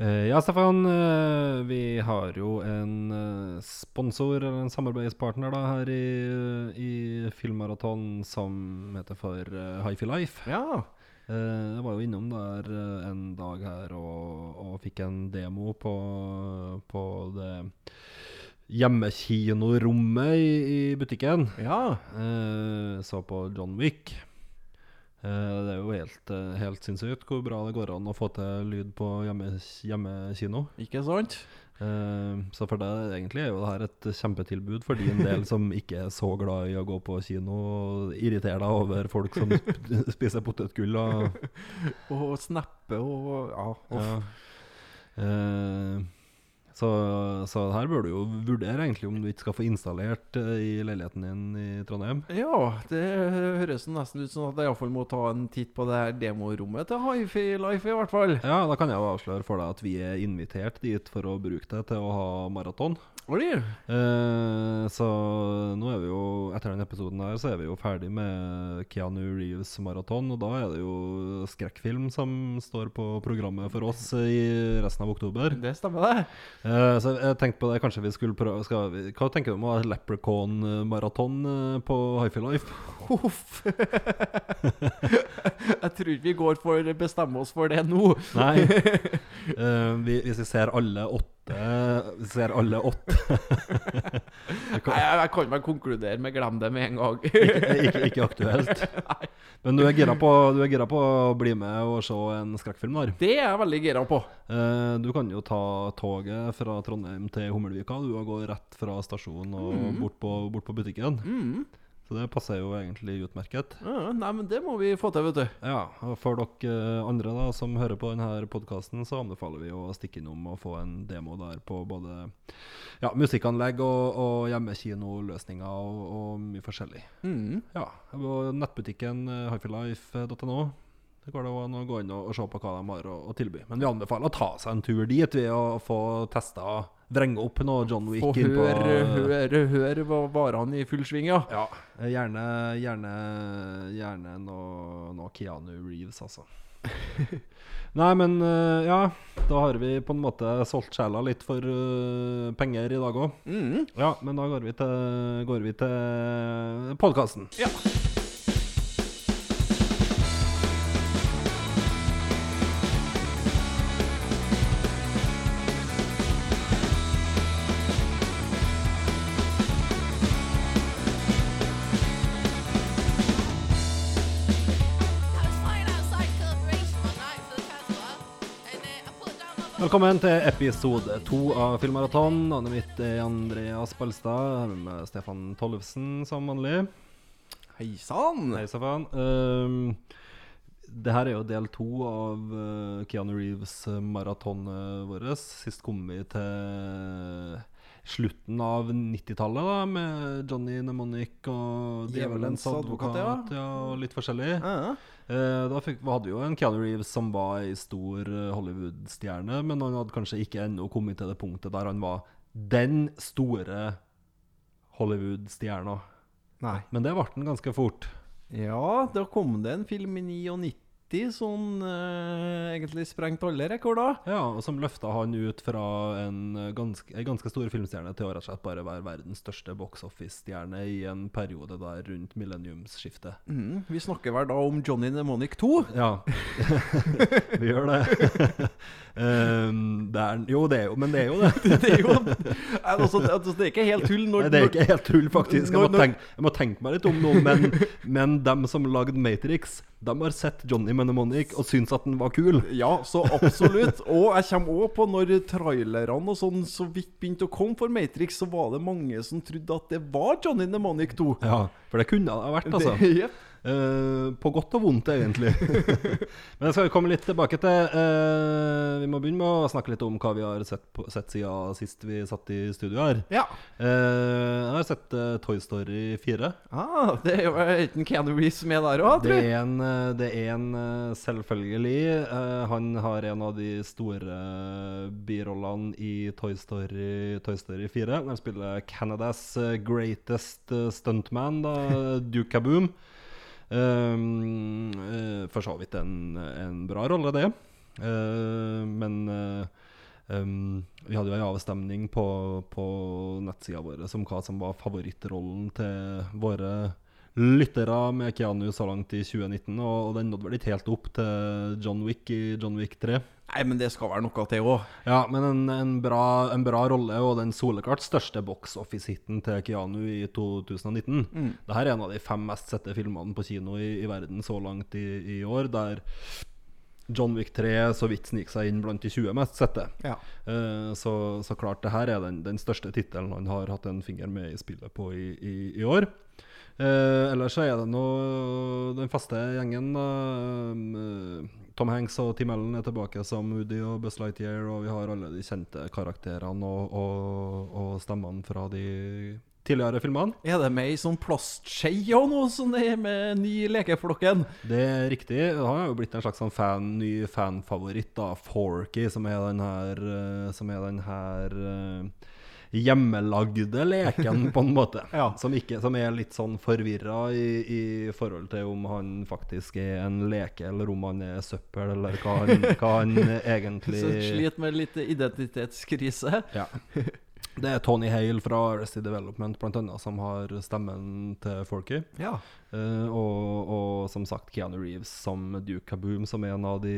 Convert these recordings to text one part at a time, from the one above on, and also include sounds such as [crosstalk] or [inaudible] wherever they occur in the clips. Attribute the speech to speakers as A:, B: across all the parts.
A: Eh, Ja, Stefan, eh, vi har jo en eh, sponsor, eller en samarbeidspartner, da, her i, i filmmaraton som heter for eh, Hifi Life.
B: Ja.
A: Eh, Jeg var jo innom der eh, en dag her og, og fikk en demo på, på det hjemmekinorommet i, i butikken.
B: Ja.
A: Eh, så på John Wick. Eh, det er jo helt, eh, helt sinnssykt hvor bra det går an å få til lyd på hjemme, hjemmekino.
B: Ikke sant?
A: Eh, så for deg egentlig er jo det her et kjempetilbud for din del som ikke er så glad i å gå på kino og irritere deg over folk som sp- spiser potetgull og
B: Og snappe og Ja. uff.
A: ja. Eh, så, så her bør du jo vurdere egentlig om du ikke skal få installert eh, i leiligheten din i Trondheim.
B: ja, det høres nesten ut som at jeg iallfall må ta en titt på det her demorommet til Hifi Life, i hvert fall.
A: Ja, da kan jeg jo avsløre for deg at vi er invitert dit for å bruke det til å ha maraton.
B: Oi.
A: Eh, så nå er vi jo, etter den episoden her, så er vi jo ferdig med Keanu Reeves maraton, og da er det jo skrekkfilm som står på programmet for oss i resten av oktober.
B: Det stemmer, det.
A: Eh, så jeg tenkte på det, kanskje vi skulle prøve skal vi, Hva tenker du om å ha leprechaun-maraton eh, på Hifi Life? [laughs]
B: Huff. jeg tror ikke vi går for å bestemme oss for det nå.
A: Nei. [laughs] Eh, vi, hvis vi ser alle åtte hvis vi Ser alle åtte
B: Jeg, jeg, jeg kan vel konkludere med 'glem det' med en gang.
A: ikke, ikke, ikke aktuelt. Men du er gira på, du er gira på å bli med og se en skrekkfilm, der.
B: [laughs] det er jeg veldig gira på.
A: Eh, du kan jo ta toget fra Trondheim til Hummelvika. Du og går rett fra stasjonen og bort, på, bort på butikken.
B: Mm.
A: Så det passer jo egentlig utmerket.
B: Ja, Nei, men det må vi få til, vet du.
A: Ja, og For dere eh, andre da som hører på denne podkasten, så anbefaler vi å stikke innom og få en demo der på både ja, musikkanlegg og, og hjemmekinoløsninger og, og mye forskjellig.
B: Mm.
A: Ja, og nettbutikken eh, highfilife.no. Det går det an å gå inn og, og se på hva de har å, å tilby. Men vi anbefaler å ta seg en tur dit ved å få testa vrenge opp noe John Wick
B: Og
A: inn på
B: hør, eh, hør, hør hva varene i full sving, ja.
A: Ja, gjerne, gjerne, gjerne noe, noe Keanu Reeves,
B: [laughs]
A: altså. Nei, men eh, ja. Da har vi på en måte solgt sjela litt for eh, penger i dag òg.
B: Mm.
A: Ja, men da går vi til, går vi til podkasten.
B: Ja.
C: I was flying outside Corporation one night for the transport, and uh, I put down my bottle.
A: Velkommen til episode to av Filmmaraton. Navnet mitt er Andreas Balstad. Her med Stefan Tollefsen som vanlig.
B: Hei sann!
A: Hei, Stefan. Um, det her er jo del to av uh, Keanu Reeves-maratonet vårt. Sist kom vi til slutten av 90-tallet, da, med Johnny Nemonic og Djevelens
B: Djevelens advokat,
A: advokat
B: ja.
A: ja, og litt forskjellig.
B: Ja.
A: Eh, Da fikk, hadde vi jo en Keanu Reeves som var ei stor eh, Hollywood-stjerne, men han hadde kanskje ikke ennå kommet til det punktet der han var den store Hollywood-stjerna.
B: Nei.
A: Men det ble han ganske fort.
B: Ja, da kom det en film i 99 som eh, egentlig sprengte alle rekorder.
A: Ja, og som løfta han ut fra en eh, ganske, ei ganske stor filmstjerne til å rett og slett bare være verdens største box office-stjerne i en periode der rundt millenniumsskiftet.
B: Mm. Vi snakker vel da om Johnny Nemonic 2.
A: Ja, [laughs] vi gjør det. [laughs] Ehm, det er, jo, det er jo, men det er jo det.
B: [laughs] det er jo Nei, altså, det, altså, det er ikke helt tull når
A: Nei, det er ikke helt tull, faktisk. Jeg
B: Når-
A: må, tenke, jeg må tenke meg litt om nå. Men,
B: [laughs]
A: men dem som lagde Matrix, de har sett Johnny Mnemonic og syns at den var kul.
B: Ja, så absolutt. Og jeg kommer òg på når trailerne og sånn så vidt begynte å komme for Matrix, så var det mange som trodde at det var Johnny Nemonic 2.
A: Ja, For det kunne det ha vært, [laughs] altså.
B: Det, jep.
A: [laughs] Eh, på godt og vondt,
B: [laughs]
A: egentlig. Men jeg skal komme litt tilbake til eh, Vi må begynne med å snakke litt om hva vi har sett, på, sett siden sist vi satt i studio her.
B: Ja.
A: Eh, jeg har sett eh, Toy Story 4.
B: Ah, det er jo enten Keanu Reeves med der òg,
A: Det
B: tror jeg.
A: er en, eh, det er en eh, selvfølgelig. eh, Han har en av de store eh, birollene i Toy Story, Toy Story 4. Han spiller Canadas eh, greatest eh, stuntman,
B: [laughs]
A: da, Duke Kaboom. Um, eh, for så vidt en, en bra rolle, det. Eh, men eh, Um, vi hadde jo en avstemning på, på nettsida vår om hva som var favorittrollen til våre lyttere med Keanu så langt i 2019, og, og den nådde vel ikke helt opp til John Wick i John Wick 3.
B: Nei, men det skal være noe til òg.
A: Ja, men en, en, bra, en bra rolle og den soleklart største box office-hiten til Keanu i 2019. Dette er en av de fem mest sette filmene på kino i, i verden så langt i, i år, der John Wick 3 så vidt sniker seg inn blant de 20 mest sette.
B: Ja.
A: Eh, så, så klart, det her er den, den største tittelen han har hatt en finger med i spillet på i, i, i år. Eh, ellers så er det nå den faste gjengen. da. Eh, Tom Hanks og Tim Allen er tilbake som Woody og Buzz Lightyear, og vi har alle de kjente karakterene og, og, og stemmene fra de tidligere filmene.
B: Er det med ei sånn plastskje og noe sånn det er med ny lekeflokken?
A: Det er riktig. Han har jo blitt en slags sånn fan, ny fanfavoritt, da. Forky, som er den her, eh, som er den her eh, hjemmelagde leken, på en måte.
B: Ja.
A: som, ikke, som er litt sånn forvirra i, i forhold til om han faktisk er en leke, eller om han er søppel, eller hva han, hva han egentlig
B: Som sliter med litt identitetskrise.
A: ja. Det er Tony Hale fra Arrested Development blant annet, som har stemmen til Forky.
B: Ja.
A: Eh, og, og som sagt Keanu Reeves som Duke Kaboom som en av de,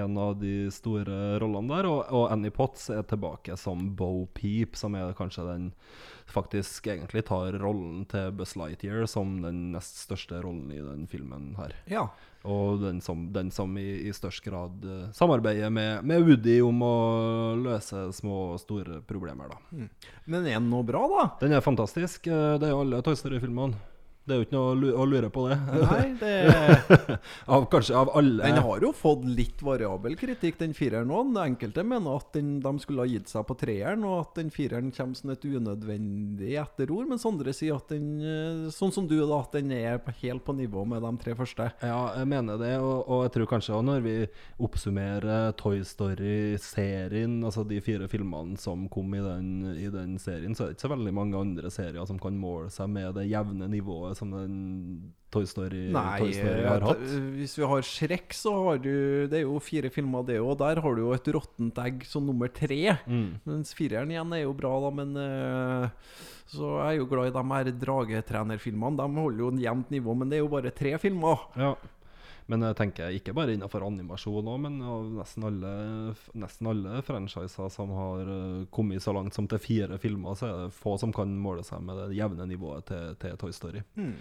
A: en av de store rollene der. Og, og Annie Potts er tilbake som Bo Peep, som er kanskje den faktisk egentlig tar rollen til Buzz Lightyear som den nest største rollen i den filmen her.
B: ja.
A: Og den som, den som i, i størst grad eh, samarbeider med, med Woody om å løse små og store problemer, da.
B: Men er den nå bra, da?
A: Den er fantastisk. eh, Det er jo alle Toy Story-filmene. Det er jo ikke noe å lu- å lure på, det.
B: [laughs] Nei, det
A: [laughs] Av kanskje av alle
B: Den har jo fått litt variabel kritikk, den fireren òg. Enkelte mener at den, de skulle ha gitt seg på treeren, og at den fireren kommer som et unødvendig etterord. Mens andre sier at den, eh, sånn som du, da, at den er på- helt på nivå med de tre første.
A: Ja, jeg mener det, og, og jeg tror kanskje også når vi oppsummerer Toy Story-serien, altså de fire filmene som kom i den, i den serien, så er det ikke så veldig mange andre serier som kan måle seg med det jevne nivået som den Toy Story, Toy Story
B: eh,
A: har
B: at-
A: hatt.
B: hvis vi har Shrek, så har du Det er jo fire filmer, det òg. Der har du jo et råttent egg som nummer tre.
A: Mm.
B: Mens fireren igjen er jo bra, da, men eh, Så jeg er jo glad i de her dragetrenerfilmene. De holder jo en jevnt nivå, men det er jo bare tre filmer.
A: Ja. Men jeg tenker ikke bare innenfor animasjon òg, men av nesten alle, nesten alle franchiser som har eh, kommet så langt som til fire filmer, så er det få som kan måle seg med det jevne nivået til, til Toy Story.
B: Hmm.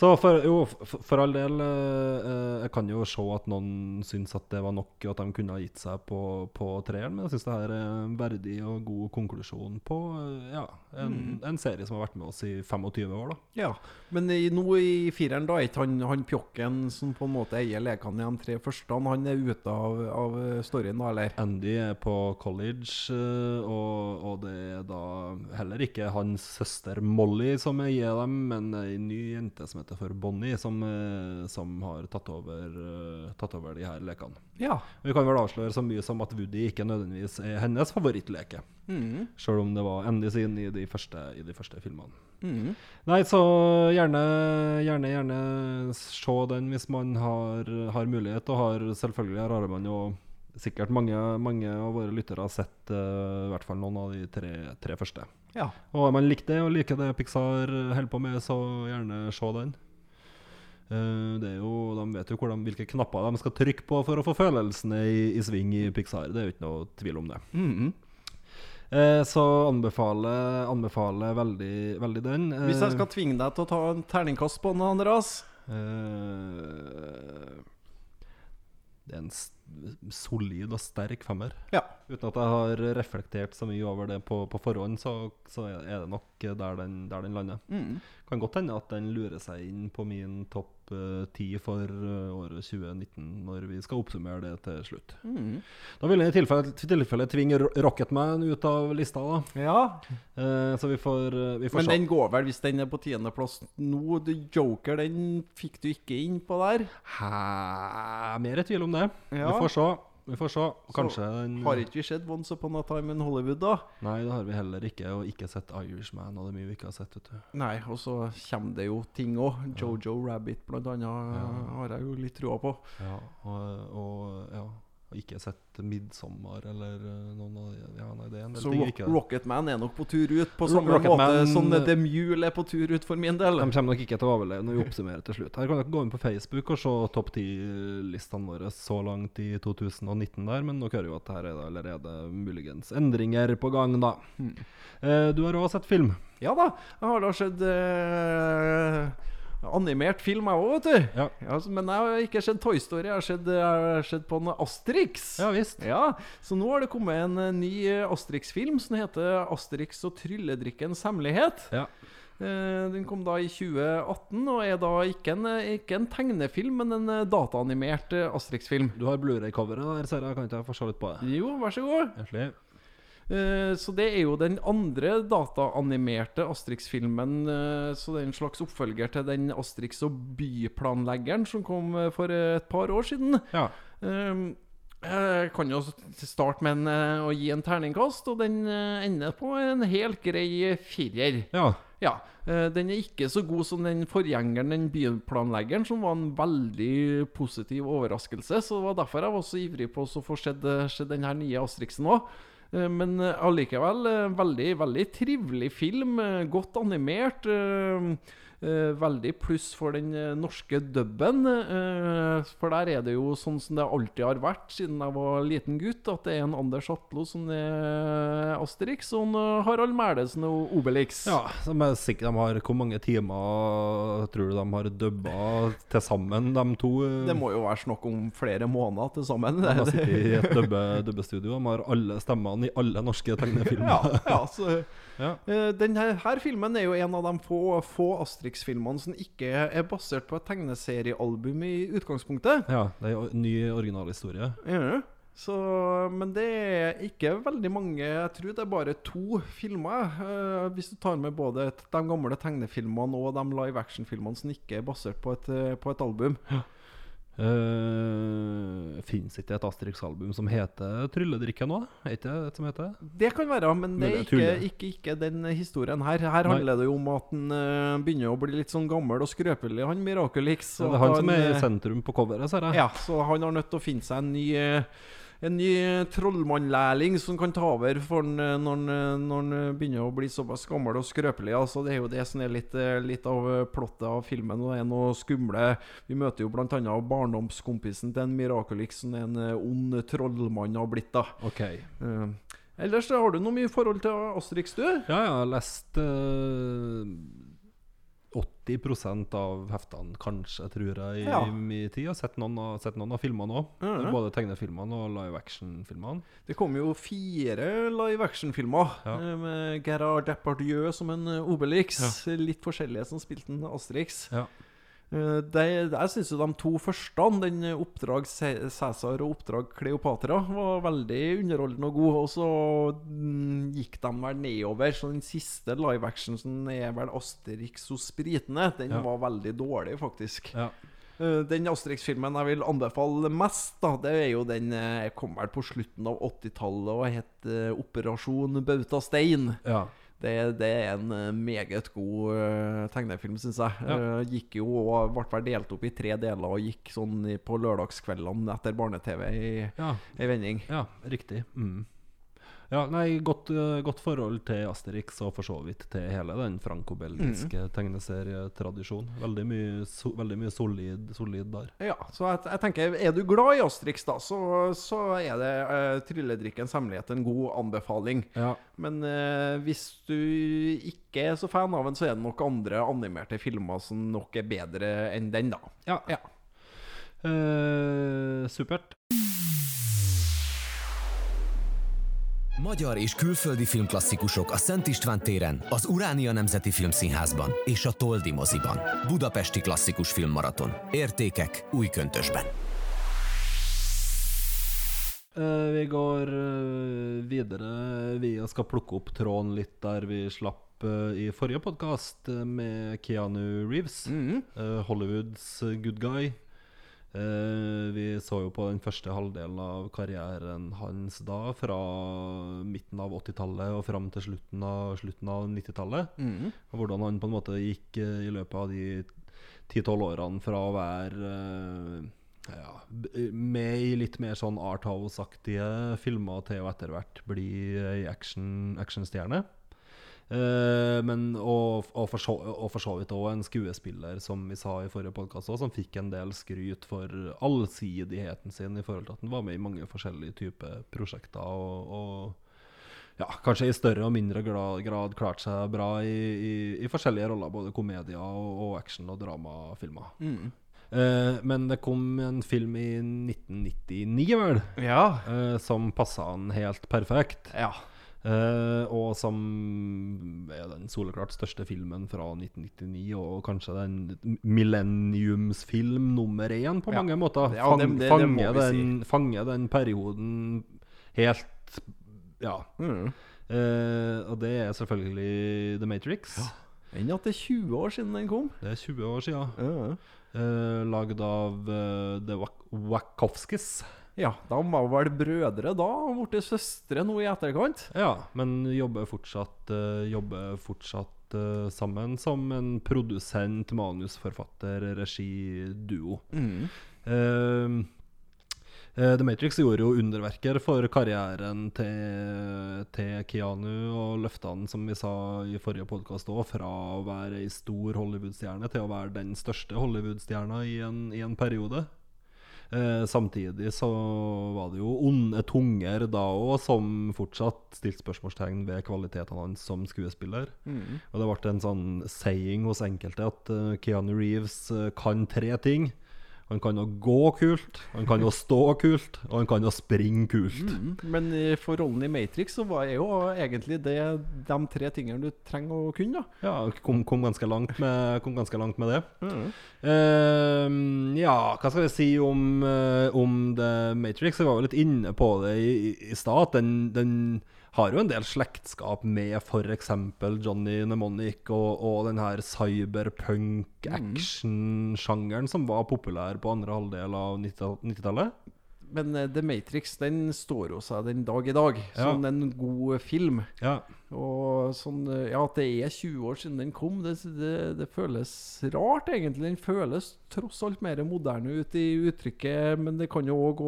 A: Så for, jo, for, for all del eh, Jeg kan jo se at noen syns at det var nok, og at de kunne ha gitt seg på, på treeren, men jeg syns det her er en verdig og god konklusjon på eh, ja, en, en serie som har vært med oss i 25 år, da.
B: Ja, men i, nå i fireren da er ikke han, han pjokken som på en måte eier lekene i de tre første, han- han er ute av, av eh, storyen da, eller?
A: Andy er på college, eh, og, og det er da heller ikke hans søster Molly som gir dem, men ei ny jente som heter for Bonnie, som, eh, som har tatt over, eh, tatt over de her lekene.
B: Ja.
A: Vi kan vel avsløre så mye som at Woody ikke nødvendigvis er hennes favorittleke,
B: Mhm.
A: sjøl om det var Andy sin i de første, i de første filmene.
B: Mhm.
A: Nei, så gjerne, gjerne, gjerne se den hvis man har, har mulighet, og har selvfølgelig her har man jo sikkert mange, mange av våre lyttere har sett eh, i hvert fall noen av de tre, tre første.
B: ja.
A: Og om man likte det, og liker det Pixar holder på med, så gjerne se den. Eh, det er jo, de vet jo hvor de, hvilke knapper de skal trykke på for å få følelsene i, i sving i Pixar. Det er jo ikke noe tvil om det.
B: Mhm.
A: Eh, så anbefaler anbefaler veldig, veldig den. Eh,
B: Hvis jeg skal tvinge deg til å ta en terningkast på den, Andreas
A: Eh, Det er en s- solid og sterk femmer.
B: Ja.
A: Uten at jeg har reflektert så mye over det på, på forhånd, så, så er det nok der den, der den lander.
B: Mhm.
A: Kan godt hende at den lurer seg inn på min topp ti for eh, året 2019, når vi skal oppsummere det til slutt.
B: Mhm.
A: Da vil jeg i tilfelle, i tilfelle tvinge Ro- Rocketman ut av lista, da.
B: Ja,
A: Eh, så vi får, eh, vi får
B: men
A: se.
B: den går vel hvis den er på tiendeplass nå. du- Joker, den fikk du ikke inn på der.
A: Hæ Mer i tvil om det.
B: Ja.
A: Vi får se. Vi får se. Kanskje den
B: Har ikke vi sett Once Upon a Time in Hollywood, da?
A: Nei, det har vi heller ikke. Og ikke sett Irishman, og det er mye vi ikke har sett. vet du
B: Nei, og så kommer det jo ting òg. Jojo Rabbit blant annet har jeg jo litt trua på.
A: Ja, og, og ja Og ikke sett 'Midsommar' eller eh, noen av de Ja, nei, det er en del
B: Så
A: ting jeg
B: Rock,
A: ikke
B: Rocket Man er nok på tur ut, på
A: Ro-
B: samme
A: Rocket
B: måte
A: Man-
B: som The Mule er på tur ut, for min del.
A: De kommer nok ikke til å overleve når vi oppsummerer til slutt. Her kan dere gå inn på Facebook og se topp 10-listene våre så langt i 2019 der, men dere hører jo at her er det allerede muligens endringer på gang, da.
B: Hmm.
A: Eh, Du har òg sett film.
B: Ja da, jeg har da sett eh, animert film, jeg òg, vet du.
A: Ja.
B: så- men jeg har ikke sett Toy Story, jeg har sett, jeg har sett på en Asterix.
A: Ja visst.
B: Ja, så nå har det kommet en eh, ny eh, Asterix-film som heter 'Asterix og trylledrikkens hemmelighet'.
A: Ja.
B: Eh, Den kom da i 2018 og er da ikke en, eh, ikke en tegnefilm, men en eh, dataanimert eh, Asterix-film.
A: Du har Blu-ray-coveret der, ser jeg. Kan ikke jeg få se litt på det?
B: Jo, vær så god.
A: Egentlig.
B: Eh, Så det er jo den andre dataanimerte Asterix-filmen. eh, Så det er en slags oppfølger til den Asterix og byplanleggeren som kom eh, for eh, et par år siden.
A: Ja.
B: Eh, Jeg kan jo starte med en, eh, å gi en terningkast, og den eh, ender på en helt grei firer.
A: ja.
B: Ja, eh, Den er ikke så god som den forgjengeren, den byplanleggeren, som var en veldig positiv overraskelse. Så det var derfor jeg var så ivrig på å få sett eh, sett den her nye Asterixen òg. Men eh, allikevel eh, veldig, veldig trivelig film. eh, Godt animert. eh, eh, Veldig pluss for den eh, norske dubben. eh, For der er det jo sånn som det alltid har vært siden jeg var liten gutt, at det er en Anders Hatlo som er Asterix, og en eh, Harald Mælesen og Obelix.
A: Ja, som er sikkert de har Hvor mange timer tror du de har dubba til sammen, de to?
B: Det må jo være snakk om flere måneder til sammen.
A: De har
B: [laughs] Det,
A: sittet i et dubbe, dubbestudio. De har alle stemmene i alle norske
B: ja,
A: tegnefilmer.
B: ja, så,
A: Ja.
B: Eh, den her, her filmen er jo en av de få, få Asterix-filmene som ikke er basert på et tegneseriealbum i utgangspunktet.
A: Ja, det er jo en ny originalhistorie.
B: Ja. Så, men det er ikke veldig mange Jeg tror det er bare to filmer. eh, hvis du tar med både t- de gamle tegnefilmene og de live action-filmene som ikke er basert på et, eh, på et album.
A: Uh, Fins ikke et Asterix-album som heter 'Trylledrikke' nå? Er ikke det et som heter det?
B: Det kan være, men det er
A: Mulig jeg
B: ikke,
A: tuller.
B: ikke, ikke den historien her. Her handler det jo om at han eh, begynner å bli litt sånn gammel og skrøpelig, han Miraculix.
A: Ja, det
B: og
A: er
B: at
A: han som er i
B: eh,
A: sentrum på coveret, ser jeg.
B: Ja, så han har nødt til å finne seg en ny eh, en ny eh, trollmannlærling som kan ta over for han eh, når han eh, når han eh, begynner å bli såpass gammel og skrøpelig. Altså, det er jo det som er litt, eh, litt av eh, plottet av filmen. Og det er noe skumle Vi møter jo bl.a. barndomskompisen til en Miraculix som er en eh, ond trollmann har blitt. da
A: Ok.
B: Eh, Ellers så har du noe mye forhold til Asterix, du?
A: Ja, jeg har lest eh, 80 av heftene, kanskje, tror jeg, i
B: Ja.
A: min tid. Jeg har sett noen av, sett noen av filmene òg.
B: Mhm.
A: Både tegnefilmene og live action-filmene.
B: Det kom jo fire live action-filmer
A: Ja.
B: eh, med Gerard Depardieu som en eh, Obelix. Litt forskjellige som spilte en Asterix.
A: Ja.
B: Eh, de- Jeg syns jo de to første, den eh, Oppdrag Cæ- Cæsar og Oppdrag Kleopatra, var veldig underholdende og god. Og så mm, gikk de vel nedover. Så den siste live action som er vel Asterix og Spritene, den
A: Ja.
B: var veldig dårlig, faktisk.
A: Ja.
B: Eh, Den Asterix-filmen jeg vil anbefale mest, da, det er jo den eh, kom vel på slutten av 80-tallet og het eh, 'Operasjon Bautastein'.
A: ja.
B: Det, det er en eh, meget god eh, tegnefilm, syns jeg.
A: Ja.
B: Eh, Gikk jo og ble vel delt opp i tre deler og gikk sånn i- på lørdagskveldene etter barne-TV i,
A: ja.
B: i vending.
A: Ja, riktig. Mm. Ja, nei, godt, eh, godt forhold til Asterix og for så vidt til hele den franco-belgiske tegneserietradisjonen. Veldig mye, so, veldig mye solid, solid der.
B: Ja, så jeg, jeg tenker, er du glad i Asterix, da, så, så er det eh, 'Trylledrikkens hemmelighet' en god anbefaling.
A: Ja.
B: Men eh, hvis du ikke er så fan av den, så er det nok andre animerte filmer som nok er bedre enn den, da.
A: Ja.
B: Ja.
A: Eh, supert.
D: Magyar és külföldi filmklasszikusok a Szent István téren, az Uránia Nemzeti Filmszínházban és a Toldi moziban. Budapesti klasszikus filmmaraton. Értékek új köntösben.
A: Eh, vi går eh, videre. Vi skal plukke opp tråden litt der vi slapp eh, i forrige podkast, med Keanu Reeves. Eh, Hollywoods eh, good guy. Eh, vi så jo på den første halvdelen av karrieren hans da, fra midten av 80-tallet og fram til slutten av, slutten av 90-tallet. Og hvordan han på en måte gikk eh, i løpet av de 10-12 årene fra å være eh, ja, b- med i litt mer sånn arthouse-aktige filmer til å etter hvert bli ei action- actionstjerne. Eh, men og, og, for så, og for så vidt òg en skuespiller, som vi sa i forrige podkast, som fikk en del skryt for allsidigheten sin, i forhold til at han var med i mange forskjellige typer prosjekter. og, og ja, kanskje i større og mindre gra- grad klart seg bra i, i, i forskjellige roller, både komedier og, og action- og dramafilmer. Eh, men det kom en film i 1999, vel,
B: Ja.
A: eh, som passa han helt perfekt.
B: Ja.
A: Eh, og som er den soleklart største filmen fra 1999, og kanskje den millenniumsfilm nummer én på
B: Ja.
A: mange måter.
B: Ja, det- det- det må
A: fanger
B: vi si.
A: den, fanger den perioden helt Ja.
B: Mm.
A: Eh, og det er selvfølgelig The Matrix.
B: Enn at det er 20 år siden den kom.
A: Det er 20 år sia.
B: Ja.
A: Uh, Lagd av eh, The Wach- Wachowskis.
B: Ja, de var vel brødre da, og ble søstre nå i etterkant.
A: Ja, men jobber fortsatt, eh, jobber fortsatt eh, sammen som en produsent, manusforfatter, regiduo. Eh, eh, The Matrix gjorde jo underverker for karrieren til, til Keanu, og løfta han, som vi sa i forrige podkast òg, fra å være ei stor Hollywood-stjerne til å være den største Hollywood-stjerna i, en- i en periode. Eh, samtidig så var det jo onde tunger da òg som fortsatt stilte spørsmålstegn ved kvalitetene hans som skuespiller. Og det ble en sånn saying hos enkelte at eh, Keanu Reeves eh, kan tre ting. Han kan jo gå kult, han kan jo stå kult, og han kan jo springe kult.
B: Men i- for rollen i Matrix så var jeg jo egentlig det de tre tingene du trenger å kunne, da.
A: Ja, kom, kom, ganske langt med, kom ganske langt med det. Ehm, ja, hva skal jeg si om, eh, om The Matrix? Jeg var jo litt inne på det i, i- i stad. at Den, den har jo en del slektskap med f.eks. Johnny Mnemonic og, og den her cyberpunk-action-sjangeren som var populær på andre halvdel av 90- 90-tallet.
B: Men eh, The Matrix den står jo seg den dag i dag,
A: Ja.
B: som en god film.
A: Ja.
B: Og sånn, eh, ja, At det er 20 år siden den kom, det, det, det føles rart, egentlig. Den føles tross alt mer moderne ut i uttrykket, men det kan jo òg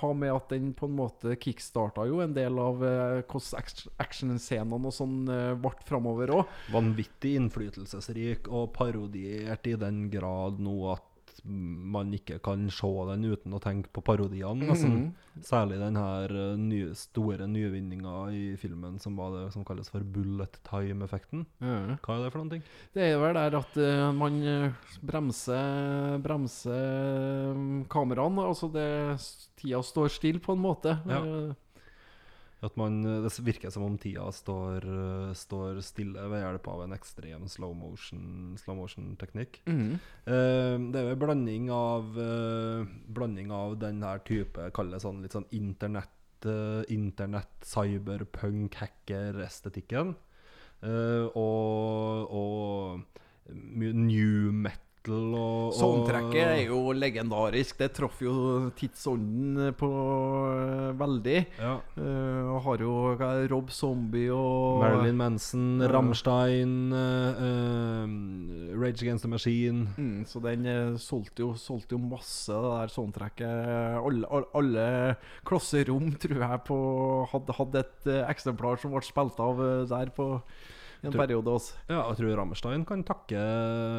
B: ha med at den på en måte kickstarta jo en del av eh, hvordan act- actionscenene og sånn eh, ble framover òg.
A: Vanvittig innflytelsesrik og parodiert i den grad nå at man ikke kan se den uten å tenke på parodiene. nesten. Særlig den her eh, nye, store nyvinninga i filmen som var det som kalles for bullet time-effekten. Hva er det for noen ting?
B: Det er vel der at eh, man eh, bremser, bremser mm, kameraene. Altså det, s- tida står stille, på en måte.
A: Ja.
B: Eh,
A: At man, eh, det virker som om tida står, eh, står stille ved hjelp av en ekstrem slow motion-teknikk. Slow motion teknikk.
B: Mhm.
A: Eh, Det er jo en blanding av eh, Blanding av den her type Kall det sånn litt sånn internett eh, Internett, cyberpunk Hacker, estetikken eh, Og Og mye New metal og, og
B: Soundtracket er jo legendarisk. Det traff jo tidsånden på eh, veldig.
A: ja.
B: Eh, og har jo hva er det, Rob Zombie og
A: Marilyn Manson,
B: Ja.
A: Rammstein eh, eh, Rage Against the Machine
B: Mm, så den eh, solgte jo, solgte jo masse, det der soundtracket. Alle, alle, alle klasserom tror jeg på hadde, hadde et eh, eksemplar som ble spilt av eh, der på i en
A: Tror-
B: periode. altså. Også.
A: Ja, jeg tror Rammstein kan takke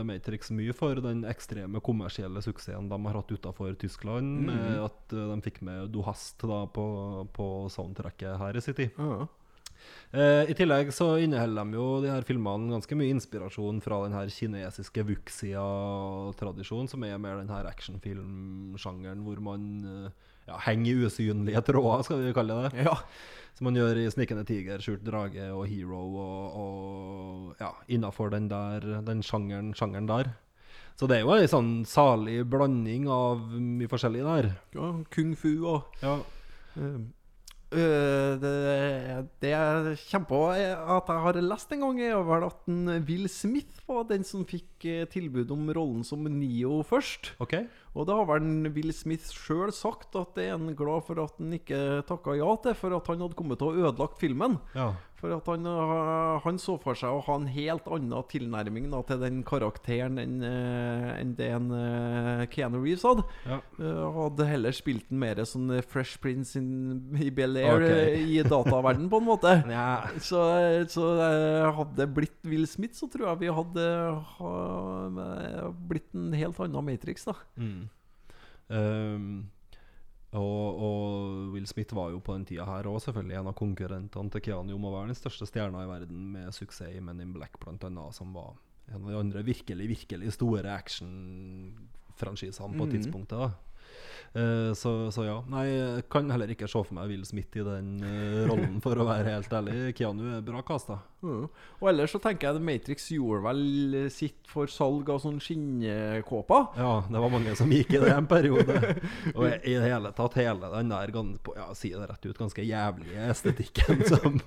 A: Matrix mye for den ekstreme kommersielle suksessen de har hatt utenfor Tyskland. med At eh, de fikk med Du Hast da, på, på soundtracket her i City.
B: Ja.
A: Eh, I tillegg så inneholder de jo de her filmene ganske mye inspirasjon fra den her kinesiske wuxia-tradisjonen, som er mer den her actionfilmsjangeren hvor man eh, ja, henger i usynlige tråder, skal vi kalle det.
B: Ja.
A: Som man gjør i 'Snikende tiger', 'Skjult drage' og 'Hero' og, og ja, innafor den, der- den sjangeren, sjangeren der. Så det er jo ei sånn salig blanding av mye forskjellig der.
B: ja, Kung fu og
A: Ja.
B: Øh, det, det jeg kommer på eh, at jeg har lest en gang, er vel at en Will Smith var den som fikk eh, tilbud om rollen som Neo først.
A: OK?
B: Og det har vel Will Smith sjøl sagt, at det er han glad for at han ikke takka ja til, for at han hadde kommet til å ødelagt filmen.
A: Ja.
B: For at han, øh, han så for seg å ha en helt annen tilnærming da, til den karakteren enn øh, enn det en øh, Keanu Reeves hadde.
A: Ja.
B: Øh, hadde heller spilt den mer sånn øh, Fresh Prince in, i Bel-Air
A: Ok.
B: øh, i dataverden på en [laughs] måte.
A: Nja.
B: Så, så øh, hadde det blitt Will Smith, så tror jeg vi hadde eh, ha, blitt en helt annen Matrix, da.
A: Mm. Ehm, og, og Will Smith var jo på den tida her òg selvfølgelig en av konkurrentene til Keanu om å være den største stjerna i verden, med suksess i Men in Black bl.a., som var en av de andre virkelig, virkelig store actionfranchisene på tidspunktet. da Eh, så, så ja. Nei, jeg kan heller ikke se for meg Will Smith i den eh, rollen, for å være helt ærlig. Keanu er bra kasta.
B: Mm. Og ellers så tenker jeg at Matrix gjorde vel sitt for salg av sånn skinnkåper.
A: Ja, det var mange som gikk i det en periode. Og i i det hele tatt, hele den der gan- på- ja, si det rett ut, ganske jævlige estetikken [laughs] som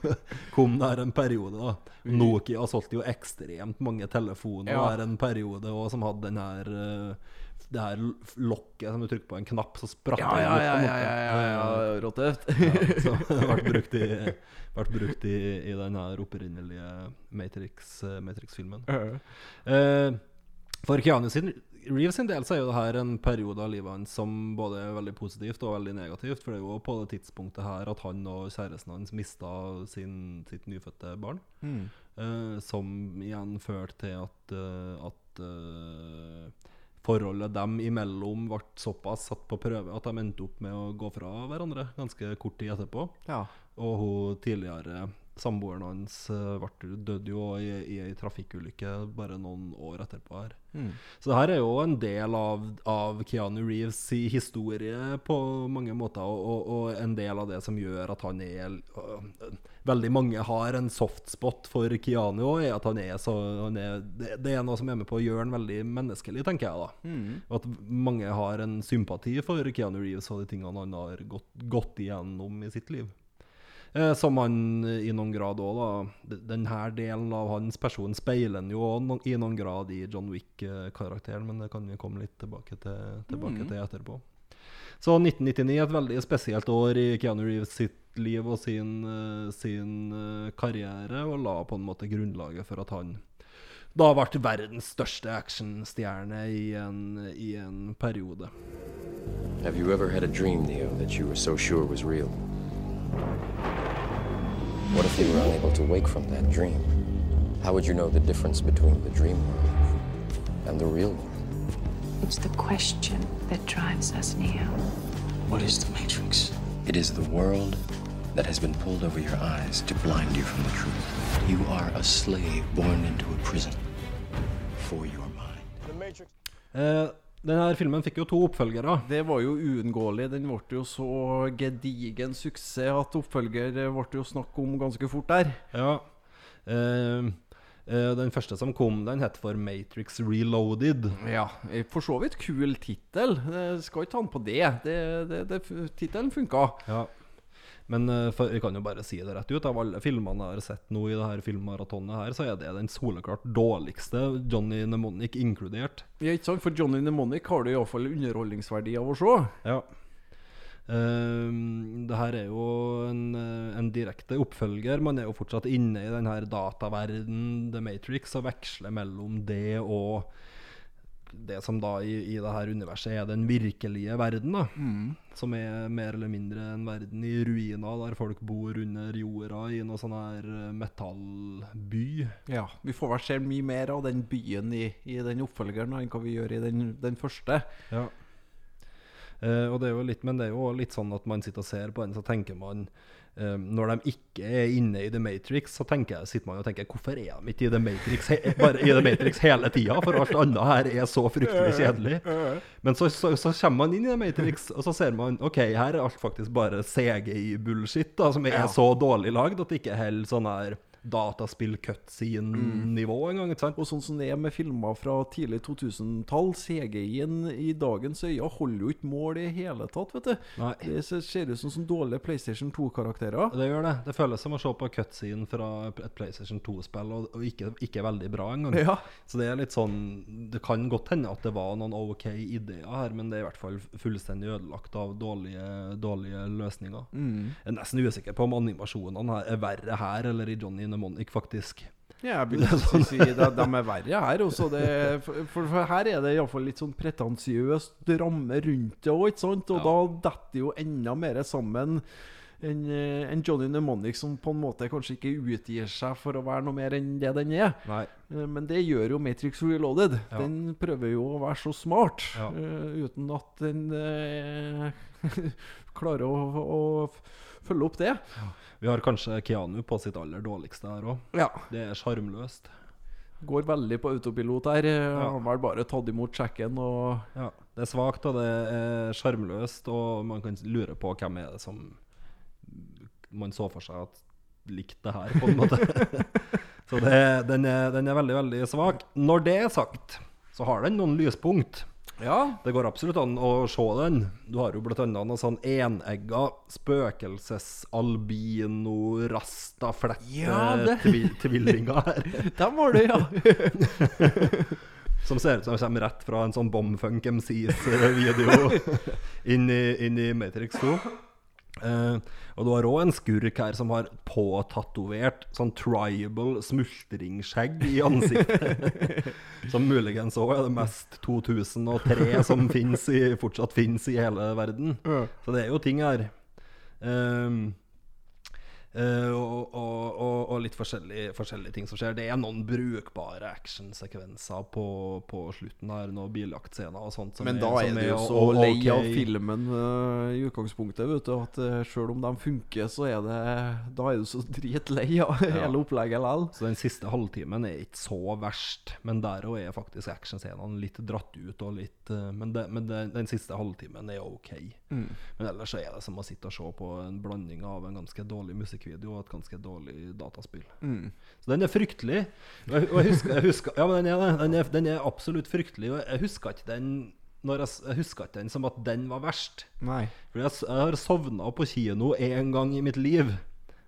A: kom der en periode. da. Nokia solgte jo ekstremt mange telefoner
B: Mm. Ja.
A: der en periode og som hadde den her eh, det her l- lokket som du trykker på en knapp, så spratt
B: Ja,
A: det
B: ja,
A: ut, på
B: ja,
A: en
B: ja,
A: måte.
B: ja, ja, ja råtøft. [laughs]
A: Ja, så det har vært brukt i, vært brukt i, i den her opprinnelige Matrix, eh, Matrix-filmen. Eh, for Keanu sin, Reeves sin del så er jo det her en periode av livet hans som både er veldig positivt og veldig negativt. For det er jo på det tidspunktet her at han og kjæresten hans mista sin, sitt nyfødte barn. Eh, som igjen førte til at, eh, at eh, forholdet dem imellom ble såpass satt på prøve at de endte opp med å gå fra hverandre ganske kort tid etterpå.
B: Ja.
A: Og hun tidligere samboeren hans eh, ble, døde jo i, i ei trafikkulykke bare noen år etterpå her. Så det her er jo en del av, av Keanu Reeves si historie på mange måter, og, og, og en del av det som gjør at han er øh, Veldig mange har en softspot for Keanu òg, er at han er så han er, det, det er noe som er med på å gjøre han veldig menneskelig, tenker jeg da. Og At mange har en sympati for Keanu Reeves og de tingene han har gått, gått igjennom i sitt liv. Eh, Som han eh, i noen grad òg, da. d- Den her delen av hans person speiler han jo også no i noen grad i John Wick-karakteren, men det kan vi komme litt tilbake til, tilbake til etterpå. Så 1999 er et veldig spesielt år i Keanu Reeves sitt liv og sin, eh, sin eh, karriere, og la på en måte grunnlaget for at han da ble verdens største actionstjerne i, en- i en periode.
E: Have you ever had a dream, Neo, that you were so sure was real? What if you were unable to wake from that dream? How would you know the difference between the dream world and the real world?
F: It's the question that drives us, Neo.
E: What is the Matrix? It is the world that has been pulled over your eyes to blind you from the truth. You are a slave born into a prison for your mind.
A: Eh, denne filmen fikk jo to oppfølgere.
B: Det var jo uunngåelig. Den ble jo så gedigen suksess at oppfølger ble jo snakk om ganske fort der.
A: Ja. Ehm, eh, den første som kom, den het for Matrix Reloaded.
B: Ja, eh, for så vidt kul tittel. Eh, Skal ikke ta den på det. det, det, det Tittelen funka.
A: Ja. Men eh, for, vi kan jo bare si det rett ut. Av alle filmene jeg har sett nå i det her filmmaratonet, her, så er det den soleklart dårligste, Johnny Nemonic inkludert.
B: Ja, ikke sant? For Johnny Nemonic har du iallfall underholdningsverdi av å se.
A: Ja. Ehm, det her er jo en, eh, en direkte oppfølger. Man er jo fortsatt inne i den her dataverden, The Matrix, og veksler mellom det og det som da i, i det her universet er den virkelige verden, da. Som er mer eller mindre en verden i ruiner, der folk bor under jorda i noe sånn her eh, metallby.
B: Ja, Vi får vel se mye mer av den byen i, i den oppfølgeren enn hva vi gjør i den, den første.
A: Ja. Eh, og det er jo litt, men det er jo også litt sånn at man sitter og ser på den, så tenker man eh, Når de ikke er inne i The Matrix, så tenker, jeg- sitter man jo og tenker Hvorfor er de ikke i The Matrix, he bare i The Matrix hele tida? For alt annet her er så fryktelig kjedelig. Men så, så, så kommer man inn i The Matrix, og så ser man OK, her er alt faktisk bare CGI-bullshit, da, som er så dårlig lagd at det ikke holder sånn her dataspill-cutscene-nivå en gang. Ikke sant?
B: Og sånn som det er med filmer fra tidlig 2000-tall, CGI-en i dagens øyne holder jo ikke mål i hele tatt, vet du.
A: Nei.
B: Det ser- ser ut som, som dårlige PlayStation 2-karakterer.
A: Det gjør det. Det føles som å se på cutscene fra et PlayStation 2-spill, og, og ikke, ikke veldig bra engang.
B: Ja.
A: Så det er litt sånn Det kan godt hende at det var noen OK ideer her, men det er i hvert fall fullstendig ødelagt av dårlige, dårlige løsninger. Jeg er nesten usikker på om animasjonene her er verre her eller i Johnny Nemonic, faktisk.
B: Ja, jeg vil
A: [laughs] sånn.
B: si- si de, de er verre her. Også det, for, for for her er det iallfall litt sånn pretensiøst ramme rundt det òg, ikke sant? Og da detter det jo enda mer sammen enn eh, enn Johnny Nemonic, som på en måte kanskje ikke utgir seg for å være noe mer enn det den er.
A: Nei.
B: Eh, Men det gjør jo Matrix Reloaded.
A: Ja.
B: Den prøver jo å være så smart,
A: Ja.
B: eh, uten at den eh, [laughs] klarer å, å f- følge opp det.
A: Vi har kanskje Keanu på sitt aller dårligste her òg.
B: Ja.
A: Det er sjarmløst.
B: Går veldig på autopilot her. eh, Har vel bare tatt imot sjekken og
A: Ja. Det er svakt, og det er sjarmløst, og man kan lure på hvem er det som man så for seg at likte det her, på
B: [laughs]
A: en måte. så det, den, er, den er veldig, veldig svak. Når det er sagt, så har den noen lyspunkt.
B: Ja.
A: Det går absolutt an å se den. Du har jo blant annet noe sånn enegga
B: Ja, det-
A: spøkelses-albino-rastaflette-tvillinger
B: [laughs]
A: her.
B: Dem var det, ja.
A: Som ser ut som de kommer rett fra en sånn Bombfunk MCs-video inn, i- inn i Matrix 2. Eh, og du har òg en skurk her som har påtatovert sånn tribal smultringskjegg i ansiktet.
B: [laughs]
A: som muligens òg er det mest 2003 som finnes i, fortsatt fins i hele verden. Så det er jo ting her. Ehm, Eh, og, og, og, og litt forskjellige, forskjellige ting som skjer. Det er noen brukbare actionsekvenser på, på slutten her, noen biljaktscener og sånt. som
B: [laughs] Men da er
A: som
B: du jo så
A: o-
B: lei av
A: ok.
B: filmen eh, i utgangspunktet, vet du, at eh, sjøl om de funker, så er det Da er du så dritlei av [laughs] hele opplegget likevel.
A: Så den siste halvtimen er ikke så verst, men der òg er faktisk actionscenene litt dratt ut. Og litt, eh, men det, men det, den siste halvtimen er ok. Men ellers så er det som å sitte og se på en blanding av en ganske dårlig musikkvideo og et ganske dårlig dataspill. Så den er fryktelig. Og jeg, og jeg husker, jeg husker, ja, men den er det. Den er, den er absolutt fryktelig. Og jeg husker ikke den når jeg, s- jeg husker ikke den som at den var verst.
B: Nei.
A: For jeg, s- jeg har sovna på kino én gang i mitt liv,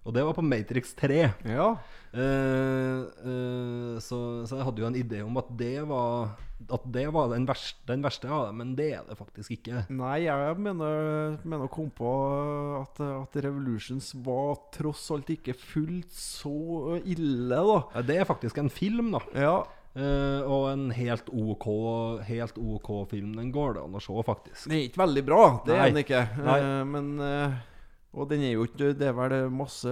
A: og det var på Matrix 3.
B: Ja.
A: Eh, eh, så, så jeg hadde jo en idé om at det var At det var den verste, den verste av dem, men det er det faktisk ikke.
B: Nei, jeg mener, mener å komme på at, at Revolutions var tross alt ikke fullt så ille, da.
A: Eh, Det er faktisk en film, da.
B: Ja,
A: Eh, og en helt OK, helt OK film. Den går det an å se, faktisk.
B: Den er ikke veldig bra, det
A: Nei.
B: er den ikke.
A: Nei.
B: Eh, men eh, Og den er jo ikke Det er vel masse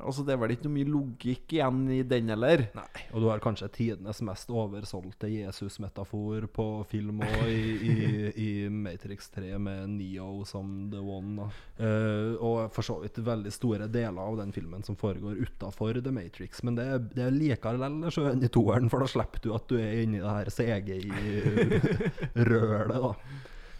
B: Altså, det er vel ikke noe mye logikk igjen i den heller.
A: Nei, Og du har kanskje tidenes mest oversolgte Jesus-metafor på film òg, [laughs] i, i, i Matrix 3 med Neo som the one. Da. Eh, og for så vidt veldig store deler av den filmen som foregår utafor The Matrix. Men det, er- det er likevel sjø enn i toeren, for da slipper du at du er inni det her CGI-rølet, da.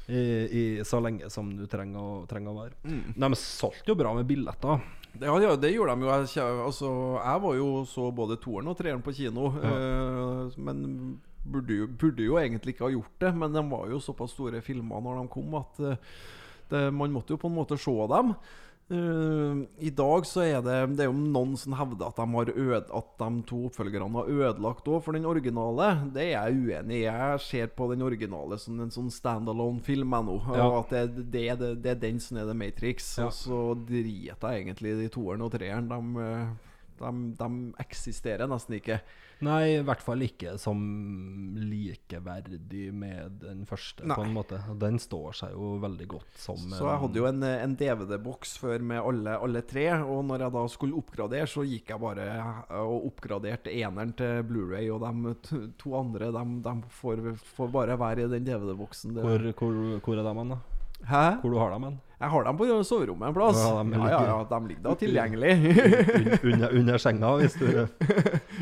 A: I, i, så lenge som du trenger å, trenger å være. De solgte jo bra med billetter.
B: Det, ja, ja, det gjorde de jo. Jeg, kje- altså, jeg var jo så både toeren og treeren på kino. eh, men burde jo, burde jo egentlig ikke ha gjort det. Men de var jo såpass store filmer når de kom, at eh, det, man måtte jo på en måte se dem. Eh, I dag så er det Det er jo noen som hevder at de, har øde, at de to oppfølgerne har ødelagt òg for den originale. Det er jeg uenig i. Jeg ser på den originale som en sånn standalone-film jeg nå.
A: Ja.
B: Og at det, det, det, det er den som er The Matrix.
A: Ja.
B: Og så driter jeg egentlig i de toeren og treeren. De, eh, de, de eksisterer nesten ikke.
A: Nei, i hvert fall ikke som likeverdig med den første,
B: Nei.
A: på en måte. Og Den står seg jo veldig godt som
B: Så jeg hadde jo en, en DVD-boks før med alle, alle tre, og når jeg da skulle oppgradere, så gikk jeg bare eh, og oppgraderte eneren til Blu-ray, og de t- to andre de, de får, får bare være i den DVD-boksen. Det-
A: hvor, hvor, hvor er de hen, da?
B: Hæ?
A: Hvor du har dem hen?
B: Jeg har dem på soverommet en plass.
A: Ja, de
B: Ja,
A: ligger-
B: ja, ja, de ligger da
A: [laughs]
B: tilgjengelig.
A: Un, under, under senga, hvis
B: [laughs]
A: du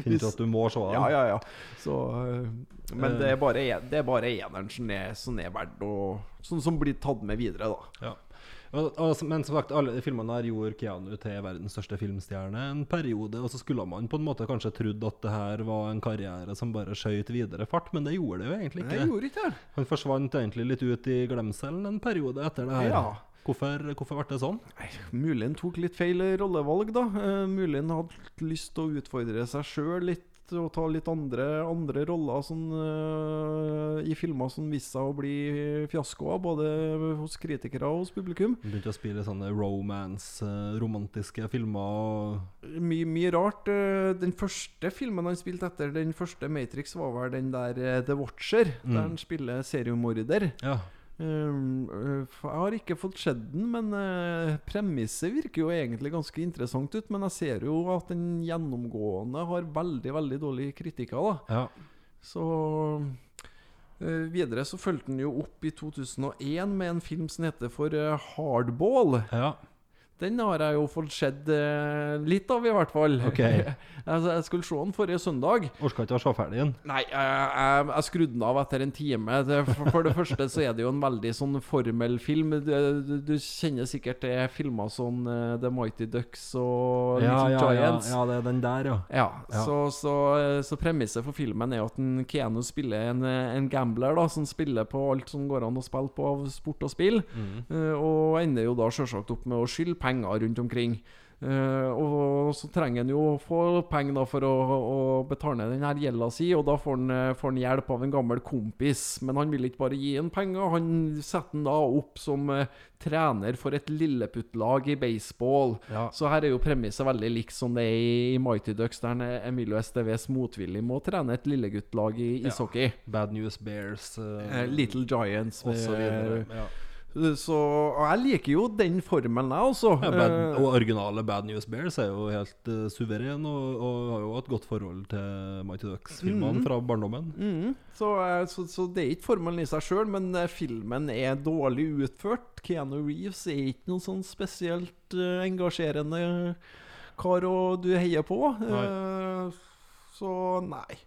A: finner ut at du må se dem.
B: Ja, ja, ja. Så, øh, men det er bare, en- det er bare eneren som er, som er verdt å Som, som blir tatt med videre, da.
A: Ja. Og, og, som- men som sagt, alle filmene her gjorde Keanu til verdens største filmstjerne en periode, og så skulle man på en måte kanskje trodd at det her var en karriere som bare skjøt videre fart, men det gjorde det jo egentlig
B: Jeg
A: ikke.
B: gjorde ikke det.
A: Han forsvant egentlig litt ut i glemselen en periode etter det her.
B: Ja.
A: Hvorfor, hvorfor ble det sånn?
B: Nei, Mulig han tok litt feil rollevalg, da. Eh, Mulig han hadde lyst til å utfordre seg sjøl litt. Og ta litt andre, andre roller sånn, eh, i filmer som viste seg å bli fiaskoer, både hos kritikere og hos publikum.
A: Han Begynte å spille sånne romance, eh, romantiske filmer og
B: Mye, mye rart. Eh, Den første filmen han spilte etter den første Matrix, var vel den der eh, The Watcher, der han spiller seriemorder.
A: Ja.
B: Um, øh, f- Jeg har ikke fått sett den, men eh, premisset virker jo egentlig ganske interessant ut. Men jeg ser jo at den gjennomgående har veldig, veldig dårlige kritikker, da.
A: ja.
B: Så eh, Videre så fulgte den jo opp i 2001 med en film som heter for eh, Hardball.
A: Ja.
B: Den har jeg jo fått sett eh, litt av, i hvert fall.
A: Ok.
B: altså, [laughs] jeg skulle se den forrige søndag.
A: Orka ikke å se ferdig den.
B: Nei, jeg, jeg, jeg skrudde den av etter en time. Det- For, for det første så er det jo en veldig sånn formelfilm. Du, du, du kjenner sikkert til filmer som eh, The Mighty Ducks og
A: Ja,
B: Little
A: ja, ja,
B: Giants.
A: ja, det er den der, ja.
B: Ja,
A: Ja.
B: Så, så, så premisset for filmen er at en Keanu spiller en, en gambler da, som spiller på alt som går an å spille på av sport og spill,
A: Mm.
B: eh, og ender jo da selvsagt opp med å skylde penger rundt omkring. Eh, og så trenger han jo å få penger da for å, å betale ned den her gjelda si, og da får han, eh, får han hjelp av en gammel kompis. Men han vil ikke bare gi han penger, han setter han da opp som eh, trener for et lilleputtlag i baseball.
A: Ja.
B: Så her er jo premisset veldig likt som det er i Mighty Ducks, der han er Emilio Esteves motvillig må trene et lilleguttlag i ishockey.
A: Bad News Bears
B: Eh,
A: uh,
B: Little Giants
A: og så videre.
B: eh,
A: Ja.
B: Så og jeg liker jo den formelen, jeg også.
A: Ja, bad,
B: Eh,
A: og originale Bad News Bears er jo helt eh, suveren og, og har jo et godt forhold til Mighty Ducks-filmene fra barndommen.
B: Mm. Så, eh, så, så det er ikke formelen i seg sjøl, men eh, filmen er dårlig utført. Keanu Reeves er ikke noen sånn spesielt eh, engasjerende kar å du heier på. Eh, så nei.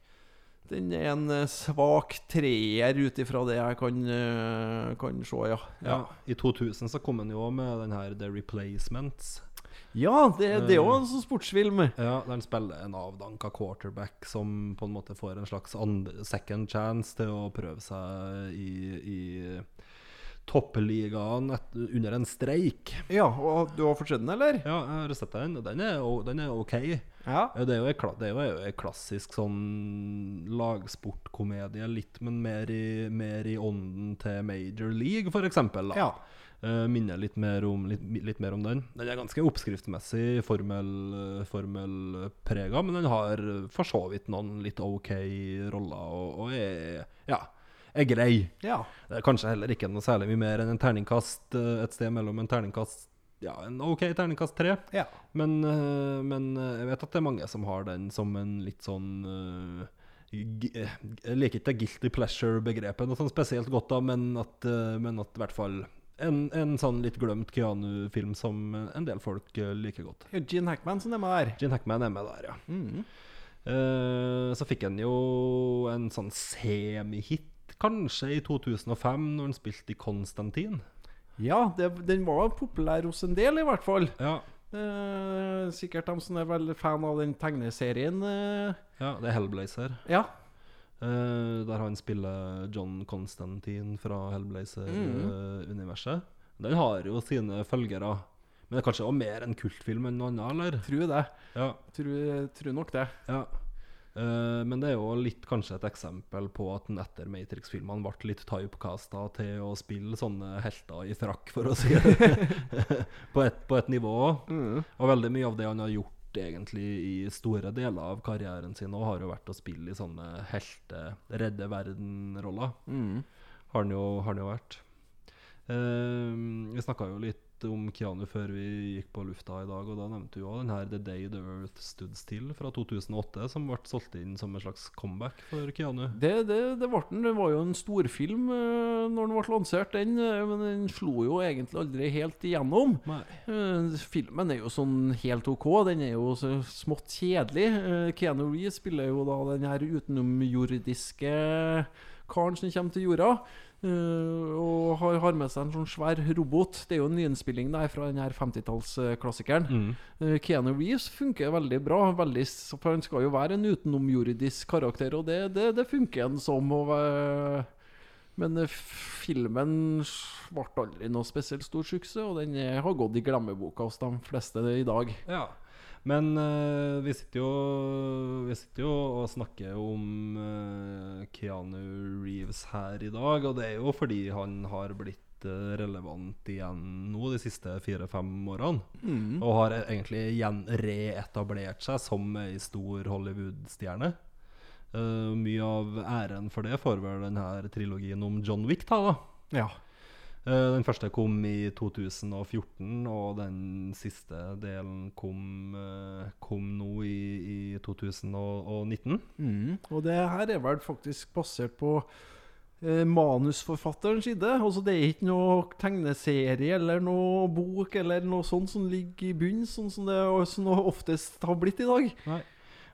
B: Den er en eh, svak treer ut ifra det jeg kan, eh, kan se, ja.
A: Ja. I 2000 så kom han jo med den her The Replacements.
B: Ja, det, det er jo en sånn sportsfilm.
A: Ja, Der han spiller en avdanka quarterback som på en måte får en slags andre, second chance til å prøve seg i, i toppligaen et- under en streik.
B: Ja, og du har fått sett den, eller?
A: Ja, jeg har sett den, og den er, o- den er ok.
B: Ja.
A: Ja, Det er jo ei kla- det er jo ei klassisk sånn lagsportkomedie, litt, men mer i, mer i ånden til Major League, for eksempel. Da.
B: Ja.
A: Eh, minner litt mer, om, litt, litt mer om den. Den er ganske oppskriftsmessig formel, formelprega, men den har for så vidt noen litt ok roller og, og er, ja, er grei.
B: ja.
A: Det er Eh, kanskje heller ikke noe særlig mye mer enn en terningkast eh, et sted mellom en terningkast Ja, en OK terningkast tre.
B: Ja.
A: Men, eh, men eh, jeg vet at det er mange som har den som en litt sånn eh, gi- eh, Jeg liker ikke det guilty pleasure-begrepet noe sånn spesielt godt, da, men at, eh, men at i hvert fall en, en sånn litt glemt Keanu-film som en del folk eh, liker godt.
B: Gene Hackman som er med der.
A: Gene Hackman er med der, ja. Eh, så fikk han jo en sånn semihit, kanskje, i 2005, når han spilte i Konstantin.
B: Ja, det, den var populær hos en del, i hvert fall.
A: Ja.
B: Eh, sikkert de som er veldig fan av den tegneserien. eh.
A: ja, det er Hellblazer.
B: ja.
A: Eh, der han spiller John Constantine fra Hellblazer-universet. Den har jo sine følgere. Men det er kanskje også mer en kultfilm enn noe annet, eller?
B: Tror det.
A: Ja,
B: Tror, tror nok det.
A: ja. Eh, men det er jo litt kanskje et eksempel på at den etter Matrix-filmene ble litt typecasta til å spille sånne helter i frakk, for å si det [laughs] på, et, på et nivå. Og veldig mye av det han har gjort egentlig i store deler av karrieren sin, nå har jo vært å spille i sånne helte, redde verden-roller. Har han jo, har han jo vært. Eh, vi snakka jo litt om Keanu før vi gikk på lufta i dag, og da nevnte du òg den her The Day The Earth Stood Still fra 2008, som ble solgt inn som en slags comeback for Keanu.
B: Det, det, det ble den. Det var jo en storfilm uh, når den ble lansert, den. eh, Men den slo jo egentlig aldri helt igjennom.
A: Nei.
B: Eh, filmen er jo sånn helt ok. Den er jo så smått kjedelig. Eh, Keanu Reeves spiller jo da den her utenomjordiske karen som kommer til jorda. Eh, eh, og har, har med seg en sånn svær robot. Det er jo en nyinnspilling der fra den her 50-tallsklassikeren. Eh, Keanu Reeves funker veldig bra. Veldig, s- for Han skal jo være en utenomjordisk karakter, og det, det, det funker han som. Og, eh, men eh, filmen ble aldri noe spesielt stor suksess, og den eh, har gått i glemmeboka hos de fleste i dag.
A: Ja. Men eh, vi, sitter jo, vi sitter jo og snakker om eh, Keanu Reeves her i dag, og det er jo fordi han har blitt eh, relevant igjen nå de siste fire-fem årene. Og har egentlig igjen reetablert seg som ei stor Hollywood-stjerne. Eh, mye av æren for det får vel den her trilogien om John Wick ta, da.
B: Ja.
A: Eh, Den første kom i 2014, og den siste delen kom, eh, kom nå i, i 2019.
B: Mm. Og det her er vel faktisk basert på eh, manusforfatterens side. Altså Det er ikke noe tegneserie eller noe bok eller noe sånt som ligger i bunnen, sånn som det og sånn det oftest har blitt i dag.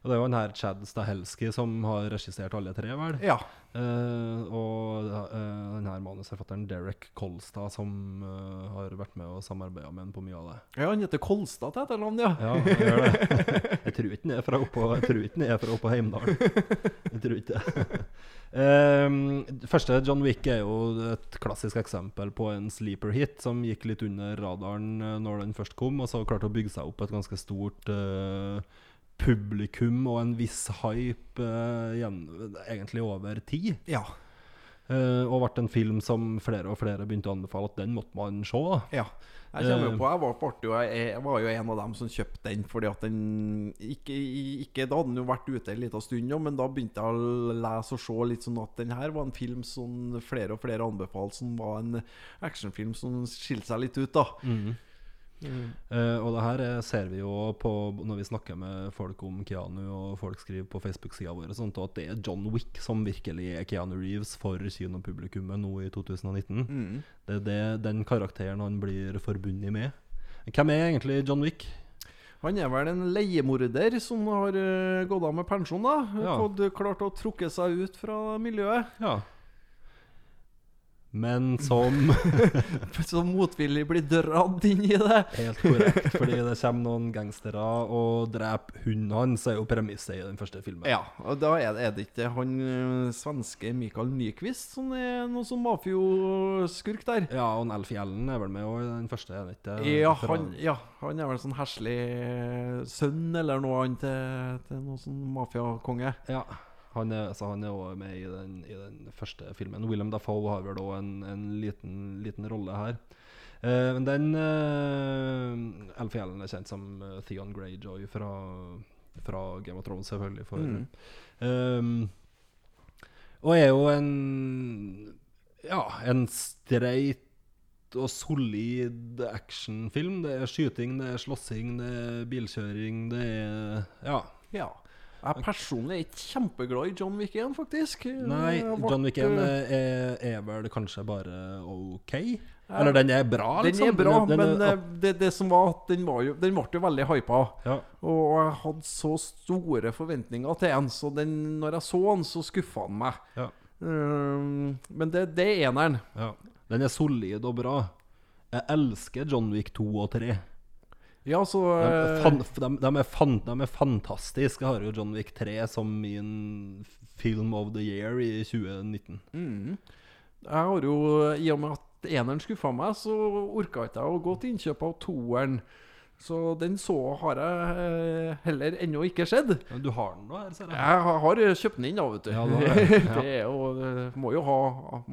A: Og det er jo han her Chad Stahelski som har regissert alle tre, vel?
B: Ja.
A: Eh, og eh, den her manusforfatteren Derek Kolstad som eh, har vært med og samarbeida med han på mye av det.
B: Han heter Kolstad til etternavn, ja.
A: Ja, jeg gjør det. [laughs] Jeg tror ikke den er fra oppå, jeg tror ikke den er fra oppå Heimdal. Jeg tror ikke det. [laughs] Ehm, det første John Wick er jo et klassisk eksempel på en sleeper hit som gikk litt under radaren eh, når den først kom, og så klarte å bygge seg opp et ganske stort eh, publikum og en viss hype eh, gjenn- egentlig over tid.
B: Ja.
A: Eh, og ble en film som flere og flere begynte å anbefale at den måtte man se. da.
B: Ja. Jeg kommer jo på, jeg var, på artig, og jeg, jeg var jo en av dem som kjøpte den. Fordi at den ikke, ikke, Da hadde den jo vært ute en liten stund, nå, men da begynte jeg å lese og se litt sånn at den her var en film som flere og flere anbefalte som var en actionfilm som skilte seg litt ut. da
A: Eh, og det her eh, ser vi jo på når vi snakker med folk om Keanu, og folk skriver på Facebook-sida vår, og sånt, og at det er John Wick som virkelig er Keanu Reeves for kinopublikummet nå i 2019.
B: Mm.
A: Det er det, den karakteren han blir forbundet med. Hvem er egentlig John Wick?
B: Han er vel en leiemorder som har eh, gått av med pensjon, da.
A: Ja.
B: Fått eh, klart å trukke seg ut fra miljøet. [laughs]
A: Ja. Men
B: [laughs]
A: som
B: Så motvillig blir dratt inn i det.
A: Helt korrekt, fordi det kommer noen gangstere og dreper hunden hans, er jo premisset i den første filmen.
B: Ja, og da er det, er det ikke han ø, svenske Mikael Nyquist som er noe sånn mafioskurk der?
A: Ja, og en Alfie Allen er vel med også i den første, er han ikke? det?
B: Ja
A: Fra-
B: han, ja, han er vel sånn heslig eh, sønn eller noe annet til, til noen sånn mafiakonge.
A: Ja, han er, altså han er også med i den, i den første filmen. William Dafoe har vel òg en, en liten, liten rolle her. Eh, Men den eh, Alfie Allen er kjent som eh, Theon Greyjoy fra, fra Game of Thrones, selvfølgelig. For, Eh, og er jo en Ja, en streit og solid actionfilm. Det er skyting, det er slåssing, det er bilkjøring, det er Ja.
B: Ja. Jeg personlig er ikke kjempeglad i John Wick 1, faktisk.
A: Nei,
B: Jeg ble-
A: John Wick
B: eh,
A: eh, 1 er, er vel kanskje bare ok? Eller den er bra,
B: Den
A: liksom?
B: er bra,
A: Den- den er-
B: men eh, ø, det, det som var at den, var jo, den ble jo veldig hypa.
A: ja.
B: Og jeg hadde så store forventninger til den, så den, når jeg så den, så skuffa han meg.
A: Ja,
B: Um, men det, det er eneren.
A: ja. Den er solid og bra. Jeg elsker John Wick 2 og 3.
B: Ja, så
A: De
B: eh,
A: er, fan, de, de er, fan, de er fantastiske. Jeg har jo John Wick 3 som min film of the year i 2019.
B: Jeg har jo, i og med at eneren skuffa meg, så orka ikke jeg å gå til innkjøp av toeren. Så den så har jeg eh, heller ennå ikke sedd.
A: Men Du har den nå her, ser jeg.
B: Jeg har- har kjøpt den inn, da, vet du.
A: Ja, du har
B: [laughs]
A: det. Ja.
B: det er jo, eh, må, jo ha,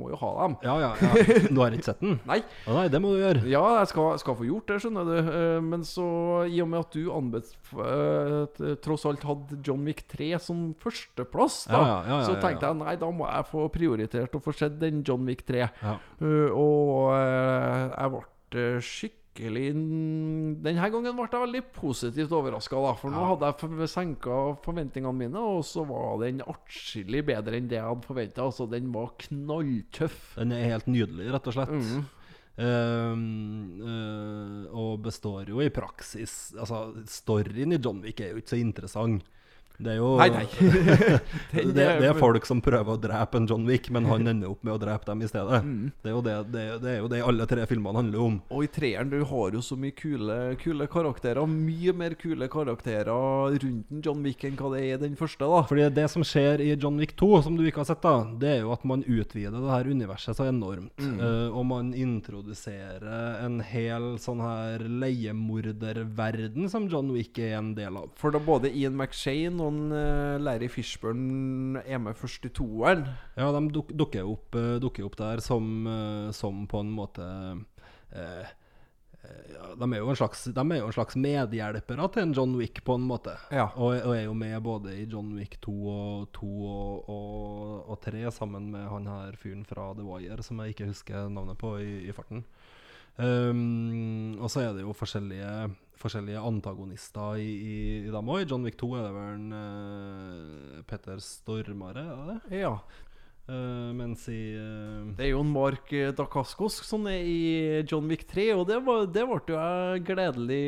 B: må jo ha dem.
A: Ja, ja, ja. Du har ikke sett den?
B: Nei.
A: Å nei, det må du gjøre.
B: Ja, jeg skal, skal få gjort det, skjønner du. Eh, Men så, i og med at du anbef eh, t- tross alt hadde John Wick 3 som førsteplass,
A: Ja,
B: da,
A: ja, ja, ja,
B: så
A: ja,
B: tenkte
A: ja.
B: jeg nei, da må jeg få prioritert å få sett den John Wick 3.
A: Ja.
B: Eh, og eh, jeg ble skikkelig Denne gangen ble jeg veldig positivt overraska, da. For nå hadde jeg for- senka forventningene mine, og så var den atskillig bedre enn det jeg hadde forventa. Altså, den var knalltøff.
A: Den er helt nydelig, rett og slett.
B: Mm.
A: Ehm, eh, og består jo i praksis Altså, storyen i John Wick er jo ikke så interessant. Det er jo
B: Nei,
A: [laughs]
B: nei.
A: det,
B: Den
A: det
B: er-
A: er folk som prøver å drepe en John Wick, men
B: [laughs]
A: han ender opp med å drepe dem i stedet.
B: Mm.
A: Det er jo det, det, det, er jo det alle tre filmene handler om.
B: Og i treeren du har jo så mye kule, kule karakterer. Mye mer kule karakterer rundt en John Wick enn hva det er i den første. da
A: Fordi det som skjer i John Wick 2, som du ikke har sett, da Det er jo at man utvider det her universet så enormt. eh, og man introduserer en hel sånn her leiemorderverden som John Wick er en del av.
B: For da både Ian McShane og en, eh, Larry Fishburn er med først i toeren.
A: Ja, de duk, dukker, opp, eh, dukker opp der som, eh, som på en måte eh, eh, ja, de, er jo en slags, de er jo en slags medhjelpere til en John Wick, på en måte.
B: Ja.
A: Og, og er jo med både i John Wick 2 og, 2 og, og, og 3, sammen med han her fyren fra The Wire, som jeg ikke husker navnet på i, i farten. Ehm, og så er det jo forskjellige, forskjellige antagonister i, i, i dem òg. I John Wick 2 er det vel en, eh, Petter Stormare, er det det?
B: Ja.
A: Eh, mens i eh,
B: Det er jo en Mark eh, Dacascos som er i John Wick 3, og det, var, det ble jo jeg gledelig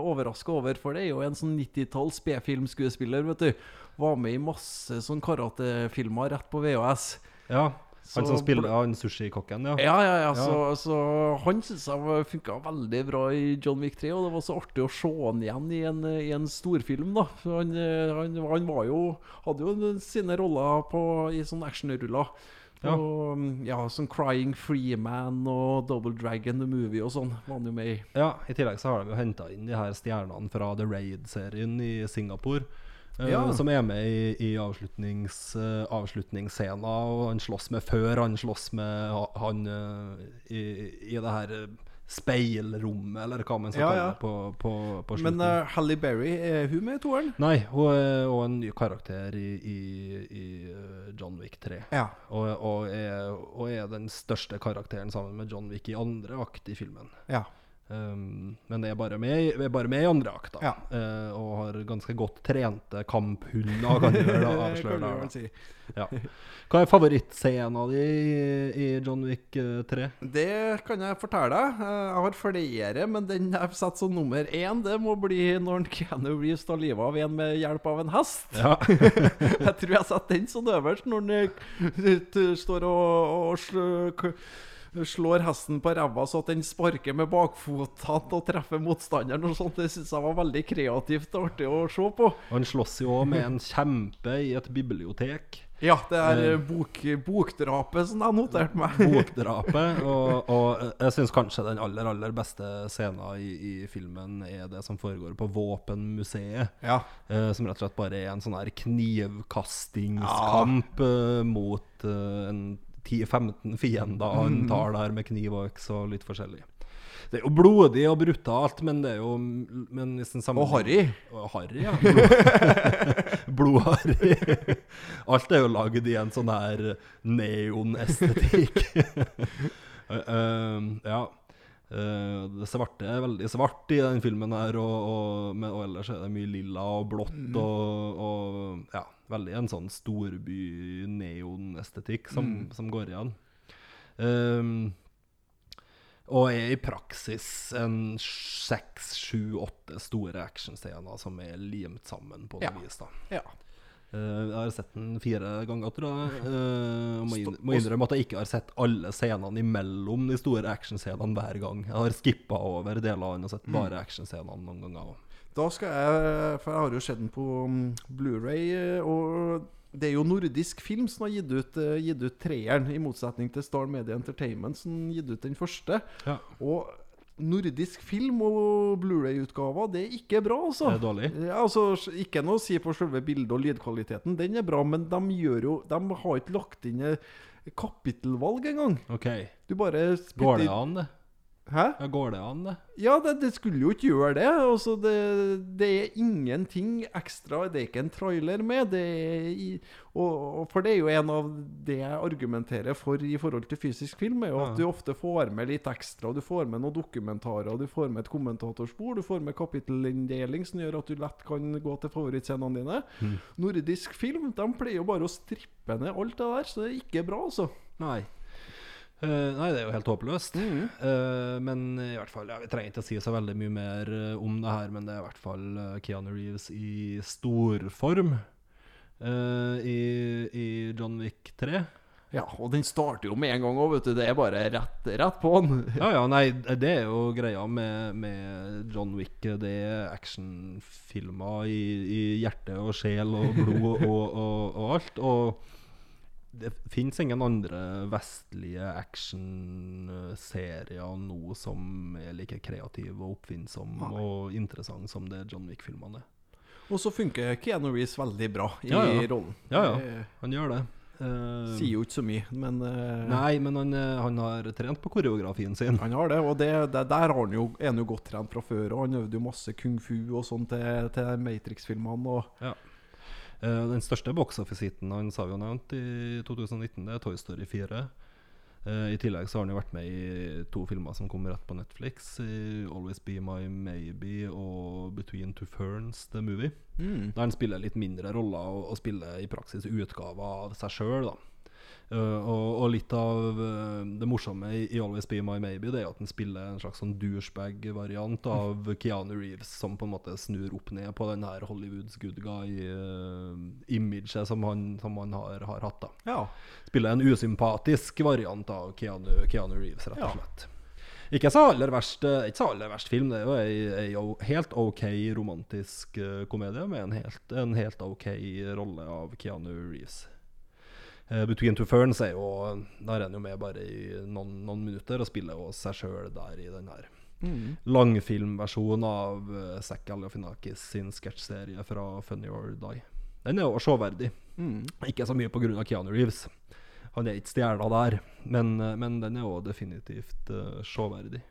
B: overraska over, for det er jo en sånn 90-talls B-filmskuespiller, vet du. Var med i masse sånn karatefilmer rett på VHS.
A: Ja, han som
B: Så
A: spiller
B: ble-
A: ja, han sushikokken, ja.
B: Ja, ja, ja. Så, så han syns jeg funka veldig bra i John Wick 3, og det var så artig å se han igjen i en, i en storfilm, da. For Han, eh, han, han var jo Hadde jo sine roller på, i sånne actionruller.
A: Ja.
B: Og, mm, ja, sånn Crying Freeman og Double Dragon The Movie og sånn var han jo med i.
A: Ja, I tillegg så har de jo henta inn de her stjernene fra The Raid-serien i Singapore. eh,
B: Ja.
A: Som er med i, i avslutnings, eh, avslutningsscenen, og han slåss med før han slåss med ha- han eh, i, i det her eh, speilrommet, eller hva man skal
B: Ja,
A: kalle
B: ja.
A: det, på, på, på slutten.
B: Men uh, Hally Berry, er hun med i toeren?
A: Nei, hun er og en ny karakter i, i, i eh, John Wick 3.
B: Ja.
A: Og, og, er, og er den største karakteren sammen med John Wick i andre akt i filmen.
B: ja.
A: Um, men er bare, med, i- er bare med i andre akt, da.
B: Ja.
A: Eh, og har ganske godt trente kamphunder, kan
B: [laughs]
A: du vel avsløre
B: Kan du
A: der.
B: vel
A: da.
B: si.
A: Ja. Hva er favorittscenen din i, i John Wick eh, 3?
B: Det kan jeg fortelle deg. Eh, Jeg har flere, men den jeg setter som nummer én, det må bli når Keanu Reeves tar livet av en med hjelp av en hest.
A: Ja.
B: [laughs] Jeg tror jeg setter den som øverst, når han eh, t- står og, og slø- k- slår hesten på ræva så at den sparker med bakfotene og treffer motstanderen og sånt. Det syns jeg var veldig kreativt og artig å se på.
A: Han slåss jo òg med en kjempe i et bibliotek.
B: Ja, det er eh, bok, bokdrapet som jeg noterte meg.
A: Bokdrapet. Og, og eh, jeg syns kanskje den aller, aller beste scenen i, i filmen er det som foregår på Våpenmuseet.
B: Ja.
A: Eh, som rett og slett bare er en sånn her knivkastingskamp eh, mot eh, en 10-15 fiender han tar der med kniv og øks og litt forskjellig. Det er jo blodig og brutalt, men det er jo men hvis en
B: Og harry.
A: Og harry, ja. Blod- [laughs] Blodharry. Alt er jo lagd i en sånn her neonestetikk. [laughs] Eh, eh, ja. Eh, det svarte er veldig svart i den filmen her, og, og, men, og ellers er det mye lilla og blått
B: Mm.
A: og, og ja, veldig en sånn storby-neonestetikk som,
B: Mm.
A: som går igjen. Ehm, og er i praksis en seks, sju, åtte store actionscener som er limt sammen på noe
B: Ja.
A: vis. da
B: [laughs] Ja.
A: Eh, jeg har sett den fire ganger, tror jeg. Uh, må, inn,
B: Sto-
A: må innrømme at jeg ikke har sett alle scenene imellom de store actionscenene hver gang. Jeg har skippa over deler av den og sett bare actionscenene noen ganger òg.
B: Da skal jeg For jeg har jo sett den på mm, Blu-ray, eh, og det er jo nordisk film som har gitt ut, eh, gitt ut treeren, i motsetning til Star Media Entertainment, som gitt ut den første.
A: Ja.
B: Og nordisk film og Blu-ray-utgaver, det er ikke bra, altså.
A: Det er dårlig.
B: Ja, altså, s- ikke noe å si på selve bildet og lydkvaliteten, den er bra, men de, gjør jo, de har ikke lagt inn eh, kapittelvalg engang.
A: OK.
B: Du bare spytter-
A: Går det an, det?
B: Hæ?
A: Ja, går det an, det?
B: Ja, det, det skulle jo ikke gjøre det. Altså, det. Det er ingenting ekstra. Det er ikke en trailer med. Det er i, og, og for det er jo en av det jeg argumenterer for i forhold til fysisk film, er jo at du ofte får med litt ekstra. Du får med noen dokumentarer, du får med et kommentatorspor, du får med kapittelinndeling som gjør at du lett kan gå til favorittscenene dine.
A: Mm.
B: Nordisk film de pleier jo bare å strippe ned alt det der, så det er ikke bra, altså.
A: Nei. Eh, nei, det er jo helt håpløst. Eh, men i hvert fall, ja, vi trenger ikke å si så veldig mye mer eh, om det her, men det er i hvert fall eh, Keanu Reeves i storform uh, i, i John Wick 3.
B: Ja, og den starter jo med en gang òg, vet du. Det er bare rett, rett på'n.
A: Ja, ja, nei, det er jo greia med, med John Wick. Det er actionfilmer i, i hjerte og sjel og blod og, og, og alt. Og det fins ingen andre vestlige actionserier nå som er like kreative og oppfinnsomme og interessante som det John Wick-filmene er.
B: Og så funker Keanu Reeves veldig bra i
A: Ja, ja.
B: rollen.
A: Ja, ja,
B: Eh,
A: han gjør det. Eh,
B: Sier jo ikke så mye, men eh,
A: nei, men han, eh, han har trent på koreografien sin.
B: han har det. Og det, det, der har han jo, er han jo godt trent fra før, og han øvde jo masse kung fu og sånn til, til Matrix-filmene. Og
A: Ja. Eh, den største box-office-hiten hans har vi jo nevnt i 2019, det er Toy Story 4. Eh, I tillegg så har han jo vært med i to filmer som kom rett på Netflix. I 'Always Be My Maybe' og 'Between Two Ferns The Movie'. Der han spiller litt mindre roller og, og spiller i praksis utgaver av seg sjøl, da. Eh, og, og litt av eh, det morsomme i, i 'Always Be My Maybe' Det er jo at han spiller en slags sånn douchebag-variant av Keanu Reeves, som på en måte snur opp ned på den her Hollywoods good guy-imaget som han, som han har, har hatt. da
B: ja,
A: Spiller en usympatisk variant av Keanu, Keanu Reeves, rett og slett. Ikke så aller verst eh, Ikke så aller verst film. Det er jo ei- ei o- helt OK romantisk eh, komedie med en helt, en helt OK rolle av Keanu Reeves. Eh, 'Between Two Ferns' er jo Der er han jo med bare i noen, noen minutter og spiller jo seg sjøl der i den her. Langfilmversjonen av eh, Zack Galifianakis sin sketsjserie fra Funny or Die. Den er jo showverdig. Ikke så mye pga. Keanu Reeves. Han er ikke stjerna der, men, eh, men den er jo definitivt uh, showverdig.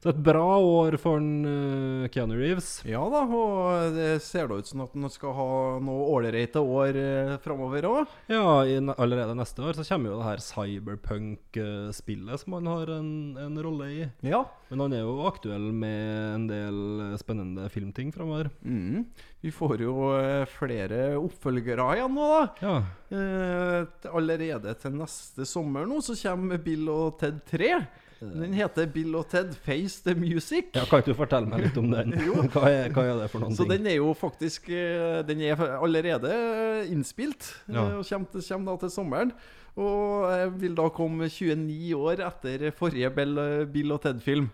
A: Så et bra år for en, eh, Keanu Reeves.
B: ja da, og det ser da ut som at han skal ha noe ålreite år eh, framover òg.
A: Ja, i, ne- Allerede neste år så kommer jo det her cyberpunk-spillet som han har en, en rolle i.
B: Ja.
A: Men han er jo aktuell med en del eh, spennende filmting framover.
B: Mm. Vi får jo eh, flere oppfølgere igjen nå, da.
A: Ja.
B: Eh, til- allerede til neste sommer nå så kommer Bill og Ted 3. Den heter Bill og Ted Face the Music.
A: ja, kan ikke du fortelle meg litt om
B: [laughs]
A: den? hva, er, hva er det for noen
B: Så
A: ting?
B: den er jo faktisk eh, Den er allerede innspilt eh,
A: Ja.
B: og kommer, til- kommer da til sommeren. Og eh, vil da komme 29 år etter forrige Bill, Bill og Ted-film.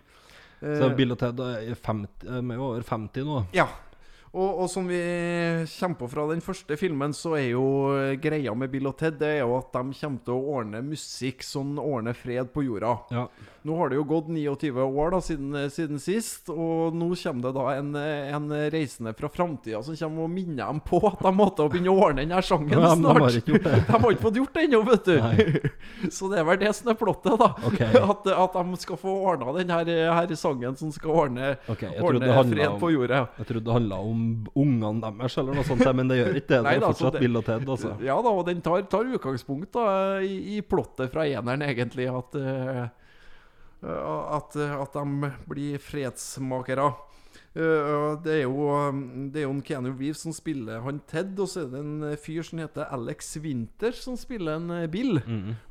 B: eh,
A: Så Bill og Ted er i 50, de er jo over 50 nå.
B: Ja. Og, og som vi kommer på fra den første filmen, så er jo eh, greia med Bill og Ted Det er jo at de kommer til å ordne musikk som ordner fred på jorda.
A: Ja.
B: Nå har det jo gått 29 år da siden, siden sist, og nå kommer det da en, en reisende fra framtida som kommer og minner dem på at de måtte begynne å ordne den her sangen
A: [laughs] Ja, men de har
B: snart.
A: ikke gjort det.
B: [laughs] De har ikke fått gjort det ennå, vet du. Så det er vel det som er plottet, da.
A: Ok.
B: [laughs] At, at de skal få ordna den her, her sangen som skal ordne,
A: Ok, jeg trodde det
B: ordne
A: handlet
B: fred
A: om-
B: på jorda.
A: Jeg trodde det handla om ungene deres, eller noe sånt, men det gjør ikke det. Det
B: [laughs] Nei
A: er
B: da, så
A: fortsatt
B: det-
A: Bill og Ted, altså.
B: [laughs] Ja da, og den tar, tar utgangspunkt da i, i plottet fra eneren, egentlig. At, eh, at, eh, at de blir fredsmakere. Eh, og det er jo Det er jo en Keanu Reeves som spiller han Ted, og så er det en eh, fyr som heter Alex Winter, som spiller en eh, Bill.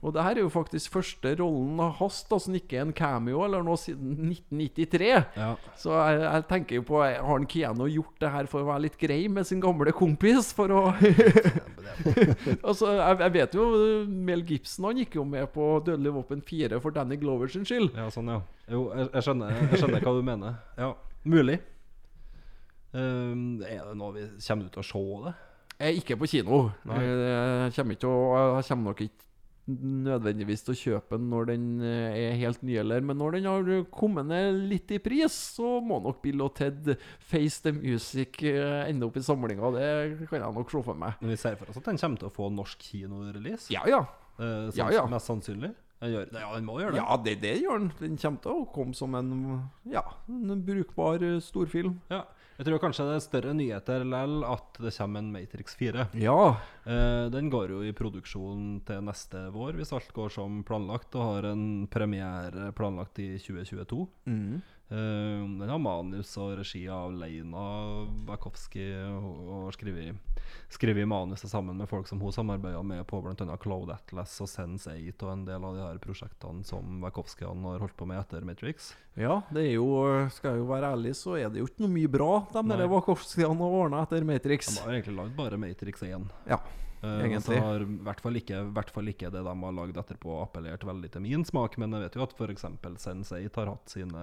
B: Og det her er jo faktisk første rollen hans da, som ikke er en cameo eller noe, siden 1993.
A: Ja.
B: Så jeg, jeg tenker jo på eh, Har han Keanu gjort det her for å være litt grei med sin gamle kompis? For å [laughs] Altså, jeg, jeg vet jo eh, Mel Gibson han gikk jo med på Dødelig våpen 4 for Danny Glover sin skyld.
A: ja, sånn, ja. Jo, jeg, jeg, skjønner, jeg skjønner hva du mener. Ja, mulig. Ehm, er det noe vi kommer ut og se det?
B: Jeg er ikke på kino. Eh, Jeg kommer, ikke å, jeg kommer nok ikke nødvendigvis til å kjøpe den når den eh, er helt ny, eller Men når den har kommet ned litt i pris, så må nok Bill og Ted Face the Music eh, ende opp i samlinga. Det kan jeg nok se for meg.
A: Men vi ser for oss at den kommer til å få norsk kinorelease.
B: Ja, ja.
A: Eh, sans-
B: Ja, ja.
A: Mest sannsynlig. Den gjør, ja, den må gjøre det.
B: Ja, det, det gjør den. Den kommer til å komme som en, ja, en brukbar eh, storfilm.
A: Ja. Jeg tror kanskje det er større nyheter likevel at det kommer en Matrix 4.
B: Ja.
A: Eh, den går jo i produksjon til neste vår, hvis alt går som planlagt, og har en premiere planlagt i 2022.
B: Mm.
A: Eh, den har manus og regi av Leina Bakowski og, og skrevet skrevet manuset sammen med folk som hun samarbeida med på bl.a. Cloud Atlas og Sense8 og en del av de her prosjektene som Wachowskian har holdt på med etter Matrix.
B: Ja, det er jo eh, Skal jeg jo være ærlig, så er det jo ikke noe mye bra de der Wachowskiene har ordna etter Matrix.
A: De har egentlig lagd bare Matrix 1.
B: Ja,
A: Eh, og Så
B: Egentlig.
A: har i hvert fall ikke, i hvert fall ikke det de har lagd etterpå, appellert veldig til min smak. Men jeg vet jo at f.eks. Sense8 har hatt sine,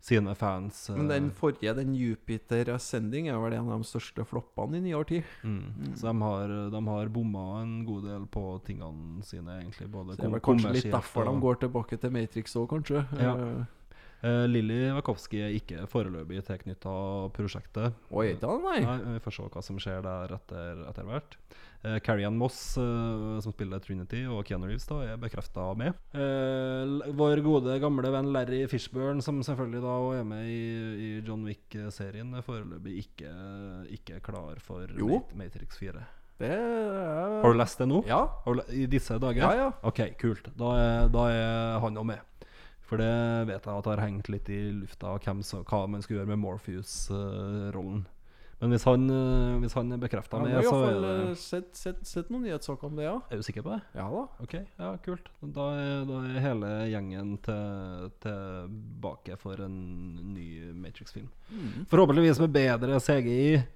A: sine fans. eh,
B: Men den forrige, den Jupiter Ascending, er vel en av de største floppene i nyere
A: [laughs]
B: tid.
A: mm. Så de har, de har bomma en god del på tingene sine, egentlig. Både
B: Det er vel
A: kom-
B: kanskje litt
A: kommersielt
B: derfor de
A: og-
B: går tilbake til Matrix òg, kanskje.
A: Ja.
B: Eh,
A: Eh, Lilly Wakowski er ikke foreløpig tilknytta prosjektet.
B: Oi, da, nei.
A: Nei, Vi får se hva som skjer der etter, etter hvert. Eh, Carrie Ann Moss, eh, som spiller Trinity, og Keanu Reeves da, er bekrefta med. Eh, l- vår gode, gamle venn Larry Fishburn, som selvfølgelig da også er med i, i John Wick-serien, er foreløpig ikke, ikke klar for
B: Jo.
A: Mat- Matrix 4.
B: Det er
A: Har du lest det nå?
B: Ja.
A: Har du le- I disse dager?
B: Ja, ja.
A: Ok, kult. Da er, da er han òg med. For det vet jeg at har hengt litt i lufta, hvem som, hva man skulle gjøre med Morpheus-rollen. Men hvis han, eh, hvis han er bekrefta
B: Han
A: med,
B: har
A: så
B: iallfall
A: er det
B: eh, sett, sett, sett noen nyhetssaker om det, ja.
A: Er du sikker på det?
B: Ja da.
A: Ok, ja, kult. Da er, da er hele gjengen til, tilbake for en ny Matrix-film.
B: Mhm.
A: Forhåpentligvis med bedre
B: [laughs]
A: CGI.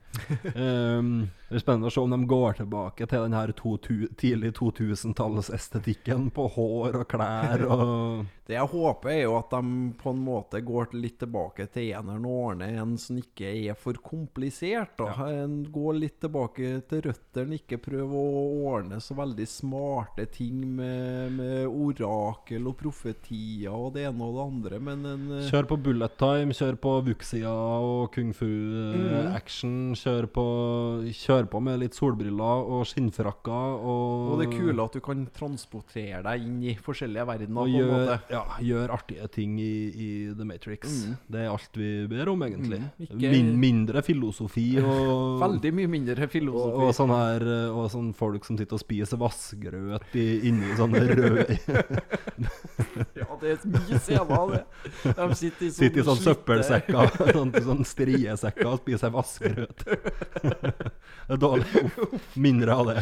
A: um, det er spennende å se om de går tilbake til den her 2000 tidlig 2000-tallsestetikken på hår og klær
B: [laughs]
A: og
B: Det jeg håper, er jo at de på en måte går til- litt tilbake til eneren og ordner en som ikke er for komplisert. Da. En går litt tilbake til røttene, ikke prøv å ordne så veldig smarte ting med, med orakel og profetier og det ene og det andre, men en eh,
A: Kjør på bullet time, kjør på vuxia og kung
B: Mhm.
A: fu-action. Kjør, på- kjør på med litt solbriller og skinnfrakker og
B: og det er kule at du kan transportere deg inn i forskjellige verdener.
A: Og
B: på en
A: gjør,
B: måte.
A: ja, gjør artige ting i, i The Matrix. Det er alt vi ber om, egentlig.
B: Mm, ikke-
A: Min, mindre filosofi og
B: [laughs] Veldig mye mindre
A: og,
B: filosofi.
A: og sånn her eh, Og sånn folk som sitter og spiser vassgrøt i, inni sånne
B: [laughs]
A: røde
B: Ja, det er mye scener av det. De sitter i sånn,
A: Sitter i sånne søppelsekker, [laughs] sånn, sånn striesekker og spiser vassgrøt. [laughs] Det er dårlig. Uff, mindre av det.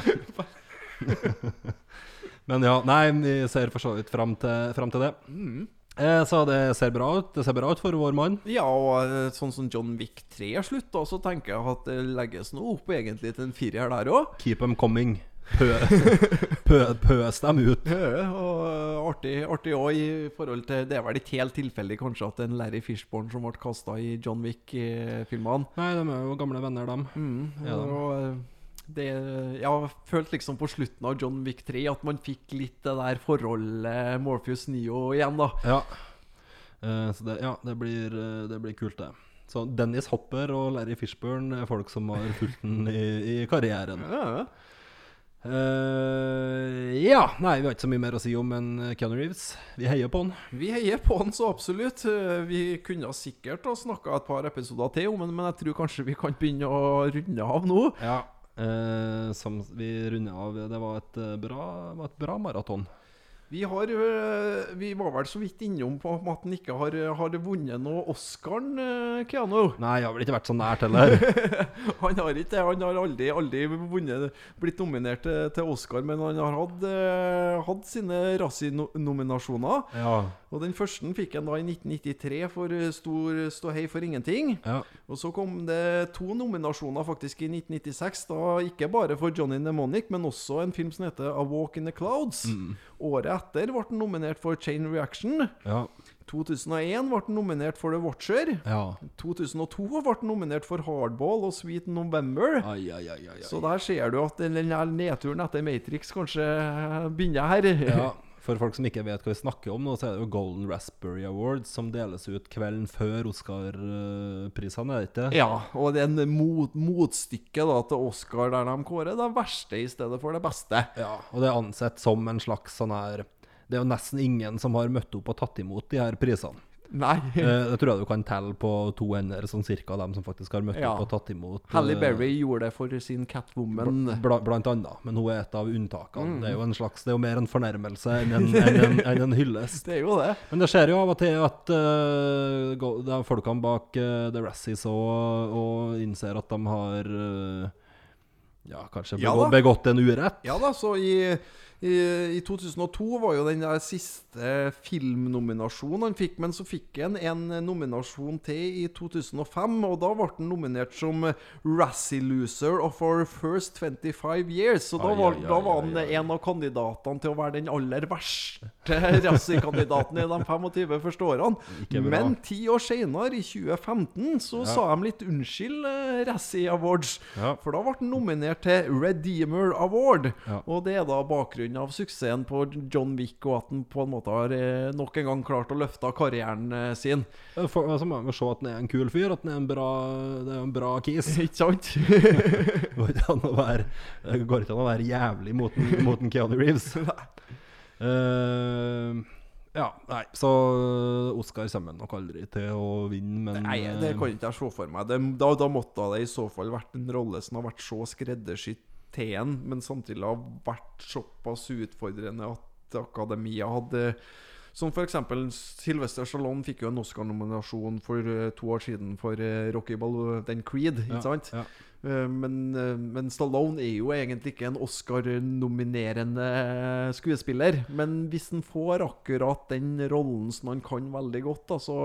A: [laughs] Men ja, nei, vi ser for så vidt fram til, frem til det.
B: Mm.
A: Eh, Så det ser bra ut. Det ser bra ut for vår mann.
B: Ja, og eh, sånn som John Wick 3 er slutt, da, så tenker jeg at det legges nå opp egentlig til en firer der òg.
A: Keep them coming. Pø, [laughs] pø, pøs dem ut.
B: Og eh, artig, artig også i forhold til Det er vel ikke helt tilfeldig kanskje at en Larry Fishborn som ble kasta i John Wick-filmene.
A: Nei, de er jo gamle venner, dem. Ja da.
B: Og eh, det Jeg følte liksom på slutten av John Wick 3 at man fikk litt det der forholdet Morpheus Neo igjen, da.
A: Ja. Eh, så det, ja, det blir, eh, det blir kult, det. Så Dennis Hopper og Larry Fishburn er folk som har fulgt den i, i karrieren. Eh, ja. Nei, vi har ikke så mye mer å si om enn Keanu Reeves. Vi heier på han.
B: Vi heier på han så absolutt. Eh, Vi kunne sikkert ha snakka et par episoder til om han, men jeg tror kanskje vi kan begynne å runde av nå.
A: Ja. Eh, som vi runder av Det var et eh, bra, var et bra maraton.
B: Vi, har, øh, vi var vel så vidt innom på at han ikke har, har vunnet noe Oscaren, øh, Keanu.
A: Nei, jeg har vel ikke vært så nært heller. [laughs]
B: [laughs] Han har ikke det. Han har aldri, aldri vunnet, blitt nominert til, til Oscar, men han har hatt, øh, hatt sine Razzie-nominasjoner.
A: Ja.
B: Og den første fikk han da i 1993 for øh, Stor ståhei for ingenting.
A: ja.
B: Og så kom det to nominasjoner faktisk i 1996, da ikke bare for Johnny Nemonic, men også en film som heter A Walk in the Clouds.
A: Mm.
B: Året etter ble den nominert for Chain Reaction.
A: Ja.
B: 2001 ble den nominert for The Watcher.
A: ja.
B: 2002 ble den nominert for Hardball og Sweet November.
A: Ai, ai, ai, ai, ai.
B: Så der ser du at den her nedturen etter Matrix kanskje begynner her.
A: Ja, for folk som ikke vet hva vi snakker om nå, så er det jo Golden Raspberry Awards som deles ut kvelden før Oscar-prisene, er det ikke?
B: [laughs] Ja, og det er en mot, motstykke da til Oscar der de kårer det verste i stedet for det beste.
A: Ja, og det er ansett som en slags sånn her Det er jo nesten ingen som har møtt opp og tatt imot de her prisene.
B: Nei.
A: Eh, Det tror jeg du kan telle på to hender, sånn cirka, dem som faktisk har møtt
B: Ja.
A: opp og tatt imot. eh,
B: Halle Berry gjorde det for sin Catwoman.
A: Bla, blant annet, men hun er et av unntakene.
B: Mm.
A: Det er jo en slags, det er jo mer en fornærmelse enn
B: [laughs]
A: en, enn en, enn en hyllest.
B: Det er jo det.
A: Men det skjer jo av og til at eh, go- de folkene bak eh, The Razzies og, og innser at de har eh, Ja, kanskje
B: Ja
A: begå-
B: da.
A: begått en urett.
B: Ja da, så i, i, i 2002 var jo den der siste filmnominasjonen han fikk, men så fikk han en nominasjon til i 2005, og da ble han nominert som Razzie Loser of Our First 25 Years, så da
A: Ai,
B: var,
A: ai,
B: da
A: ai, ai,
B: var han
A: ai.
B: en av kandidatene til å være den aller verste [laughs] Razzie-kandidaten i de 25 første
A: Ikke
B: årene.
A: bra.
B: Men ti år senere, i 2015, så sa de litt unnskyld, eh, Razzie Awards.
A: Ja.
B: For da ble han nominert til Redeemer Award.
A: Ja.
B: Og det er da bakgrunnen av suksessen på John Wick, og at han på en måte har eh, nok en gang klart å løfte karrieren eh, sin.
A: For, altså, man må se at han er en kul fyr, at han er en bra, det er en bra kis.
B: [laughs] Ikke sant?
A: Det [laughs] går ikke an å være, det går ikke an å være jævlig mot, en- mot en Keanu
B: [laughs]
A: Reeves. Eh, ja, nei, så eh, Oscar kommer nok aldri til å vinne, men
B: Nei, det kan ikke jeg se for meg. Det, da, da måtte det i så fall vært en rolle som har vært så skreddersydd til en, men samtidig har vært såpass utfordrende at akademia hadde Som f.eks. Sylvester Stallone fikk jo en Oscar-nominasjon for eh, to år siden for eh, Rocky Ball, den Creed, ikke
A: Ja,
B: sant?
A: ja.
B: Eh, Men, eh, men Stallone er jo egentlig ikke en Oscar-nominerende eh, skuespiller. Men hvis han får akkurat den rollen som han kan veldig godt, da, så,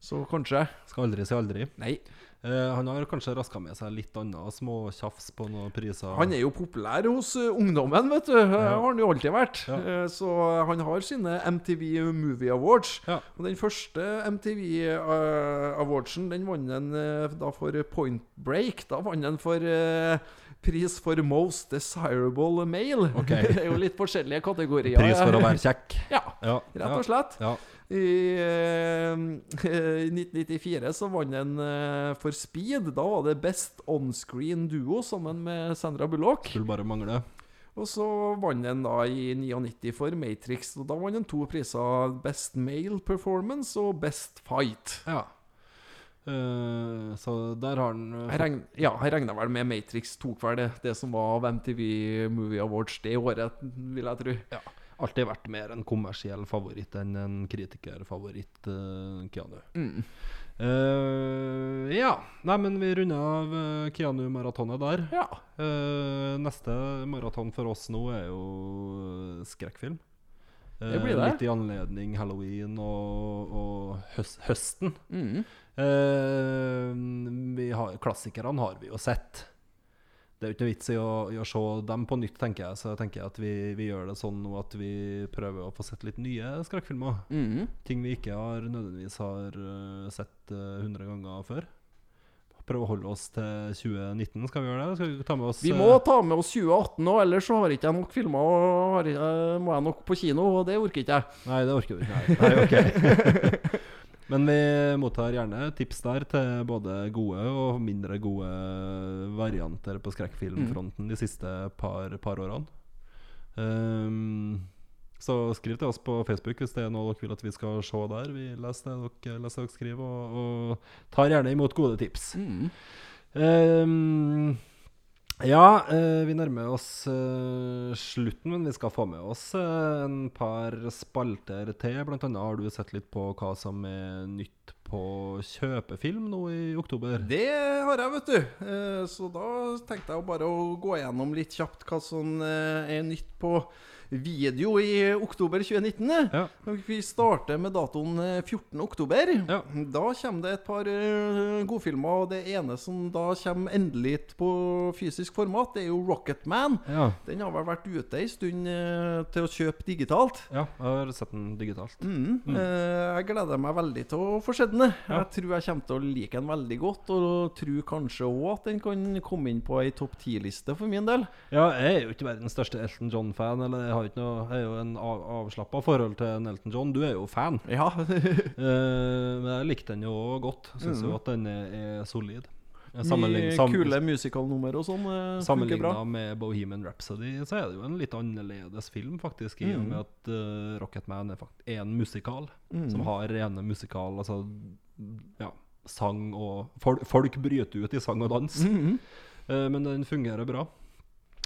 B: så kanskje.
A: eh, skal aldri si aldri.
B: Nei.
A: Eh, han har kanskje raska med seg litt annet småtjafs på noen priser.
B: Han er jo populær hos eh, ungdommen, vet du. Det har han jo alltid vært.
A: Ja.
B: Eh, Så han har sine MTV Movie Awards.
A: Ja.
B: Og den første MTV eh, Awardsen, den vant han eh, da for Point Break. Da vant han for eh, pris for Most Desirable Male.
A: Ok.
B: [laughs] det er jo litt forskjellige kategorier.
A: Pris for å være kjekk.
B: Ja,
A: Ja,
B: [laughs] rett og slett.
A: Ja,
B: I, eh, [laughs] I 1994 så vant han eh, for Speed. Da var det Best Onscreen Duo sammen med Sandra Bullock.
A: skulle bare mangle.
B: Og så vant han da i 99 for Matrix. Og da vant han to priser. Best Male Performance og Best Fight.
A: Ja. Eh, så der har han eh,
B: Jeg regn, ja, jeg regna vel med Matrix tok vel det, det som var av MTV Movie Awards det året, vil jeg tro.
A: ja, alltid vært mer en kommersiell favoritt enn en kritikerfavoritt, eh, Keanu.
B: Mm.
A: Eh, ja. Nei, men vi runder av eh, Keanu-maratonet der.
B: Ja.
A: Eh, neste maraton for oss nå er jo eh, skrekkfilm. Eh,
B: Det blir det.
A: Litt i anledning halloween og, og høs høsten.
B: Mm.
A: Eh, vi har, klassikerne har vi jo sett. Det er jo ikke noe vits i å, i å se dem på nytt, tenker jeg. Så jeg tenker at vi, vi gjør det sånn nå at vi prøver å få sett litt nye skrekkfilmer.
B: Mhm.
A: Ting vi ikke har nødvendigvis har eh, sett eh, 100 ganger før. Prøve å holde oss til 2019. Skal vi gjøre det? Skal vi ta med oss
B: Vi
A: eh,
B: må ta med oss 2018 nå, ellers så har ikke jeg nok filmer og har, ikke- må jeg nok på kino, og det orker ikke jeg.
A: Nei, det orker vi ikke. Nei, Nei, ok. [laughs] Men vi mottar gjerne tips der til både gode og mindre gode varianter på skrekkfilmfronten de siste par, par årene. Ehm, så skriv til oss på Facebook hvis det er noe dere vil at vi skal se der. Vi leser det dere, leser det dere skriver, og, og tar gjerne imot gode tips. Ehm, ja, eh, vi nærmer oss eh, slutten, men vi skal få med oss eh, en par spalter til. Blant annet har du sett litt på hva som er nytt på kjøpefilm nå i oktober.
B: Det har jeg, vet du. Eh, Så da tenkte jeg bare å gå gjennom litt kjapt hva som eh, er nytt på video i oktober 2019.
A: Ja.
B: Og Vi starter med datoen eh, 14. oktober.
A: Ja.
B: Da kommer det et par eh, godfilmer. Og det ene som da kommer endelig på fysisk format, det er jo Rocketman.
A: Ja.
B: Den har vel vært ute ei stund eh, til å kjøpe digitalt.
A: ja, jeg har sett den digitalt.
B: Mm. Eh, jeg gleder meg veldig til å få se den. jeg. Jeg tror jeg kommer til å like den veldig godt, og tror kanskje òg at den kan komme inn på ei topp ti-liste for min del.
A: Ja, jeg er jo ikke verdens største Elton John-fan, eller jeg, har ikke noe, jeg er jo en av, avslappa forhold til en Elton John. Du er jo fan.
B: [laughs] Ja.
A: Eh, men jeg likte den jo også godt. Syns jo at den er, er solid.
B: Mye
A: sam-
B: Mm. kule musikalnummer og sånn. eh, funker bra.
A: Sammenligna med Bohemian Rhapsody, så er det jo en litt annerledes film, faktisk, i og
B: Mm.
A: med at eh, Rocketman er, fakt er en musikal,
B: Mm.
A: som har rene musikal Altså, ja, sang
B: Mm,
A: og fol Folk bryter ut i sang og dans. Eh, men den fungerer bra.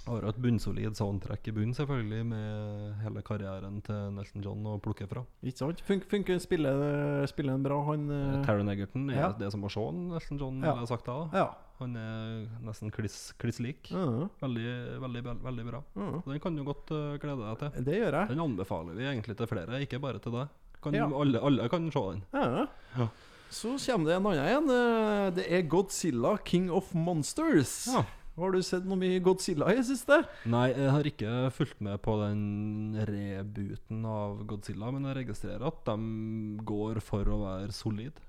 A: Har jo et bunnsolid soundtrack i bunnen, selvfølgelig, med hele karrieren til Nelson John å plukke fra.
B: Ikke sant? Fun funker spiller, spiller han bra, han eh,
A: Taron Egerton er
B: Ja.
A: det som var Sean Nelson John,
B: Ja.
A: ville jeg sagt da.
B: Ja.
A: Han er nesten kliss, kliss lik.
B: Mhm.
A: Veldig, veldig, bel- veldig bra.
B: Mhm.
A: Den kan du godt eh, glede deg til.
B: Det gjør jeg.
A: Den anbefaler vi egentlig til flere, ikke bare til deg. Kan,
B: Ja.
A: alle, alle kan se den.
B: Ja.
A: Ja.
B: Så kommer det en annen igjen. eh, Det er Godzilla, King of Monsters.
A: Ja.
B: Har du sett noe mye Godzilla i det siste?
A: Nei, jeg har ikke fulgt med på den rebooten av Godzilla, men jeg registrerer at de går for å være solid.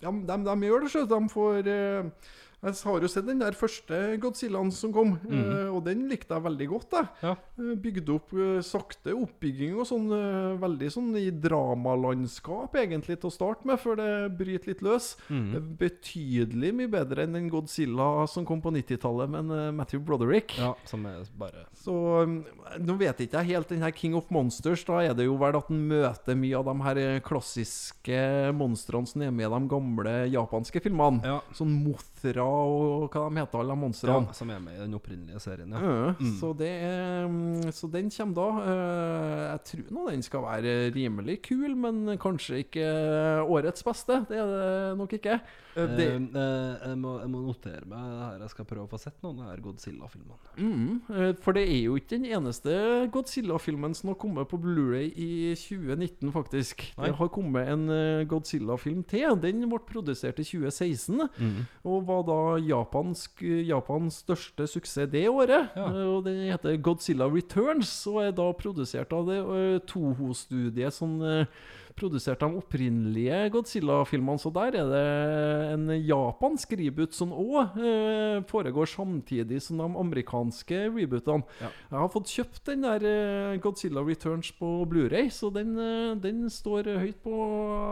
B: Ja, men de, de gjør det, sjø. De får eh, Jeg har jo sett den der første Godzillaen som kom, eh, og den likte jeg veldig godt. jeg.
A: Mm. Ja.
B: Eh, Bygde opp eh, sakte oppbygging og sånn eh, veldig sånn i dramalandskap, egentlig, til å starte med, før det bryter litt løs.
A: Mm.
B: Eh, Betydelig mye bedre enn den Godzilla som kom på 90-tallet med en, eh, Matthew Broderick.
A: ja som er bare
B: Så um, nå vet jeg ikke jeg helt den her King of Monsters. Da er det jo vel at den møter mye av de her eh, klassiske monstrene som er med i de gamle japanske filmene.
A: Ja.
B: Sånn Mothra og hva de heter, alle de
A: ja,
B: monstrene.
A: Som er med i den opprinnelige serien, ja.
B: Ja, Så, det er, um, så den kommer da. Eh, Jeg tror nå den skal være rimelig kul, men kanskje ikke årets beste. Det er det nok ikke. Eh, Det,
A: Eh, eh, jeg, må, jeg må notere meg det her. Jeg skal prøve å få sett noen av de her Godzilla-filmene.
B: Mm, eh, for det er jo ikke den eneste Godzilla-filmen som har kommet på Blu-ray i 2019, faktisk.
A: Nei.
B: Det har kommet en eh, Godzilla-film til. Den ble produsert i 2016,
A: Mhm.
B: og var da japansk, Japans største suksess det året.
A: Ja.
B: Eh, Og Den heter Godzilla Returns, og er da produsert av det eh, Toho-studiet som eh, produserte de opprinnelige Godzilla-filmene. Så der er det en japansk reboot som òg eh, foregår samtidig som de amerikanske rebootene.
A: Ja.
B: Jeg har fått kjøpt den der eh, Godzilla Returns på Blu-ray så den, eh, den står høyt på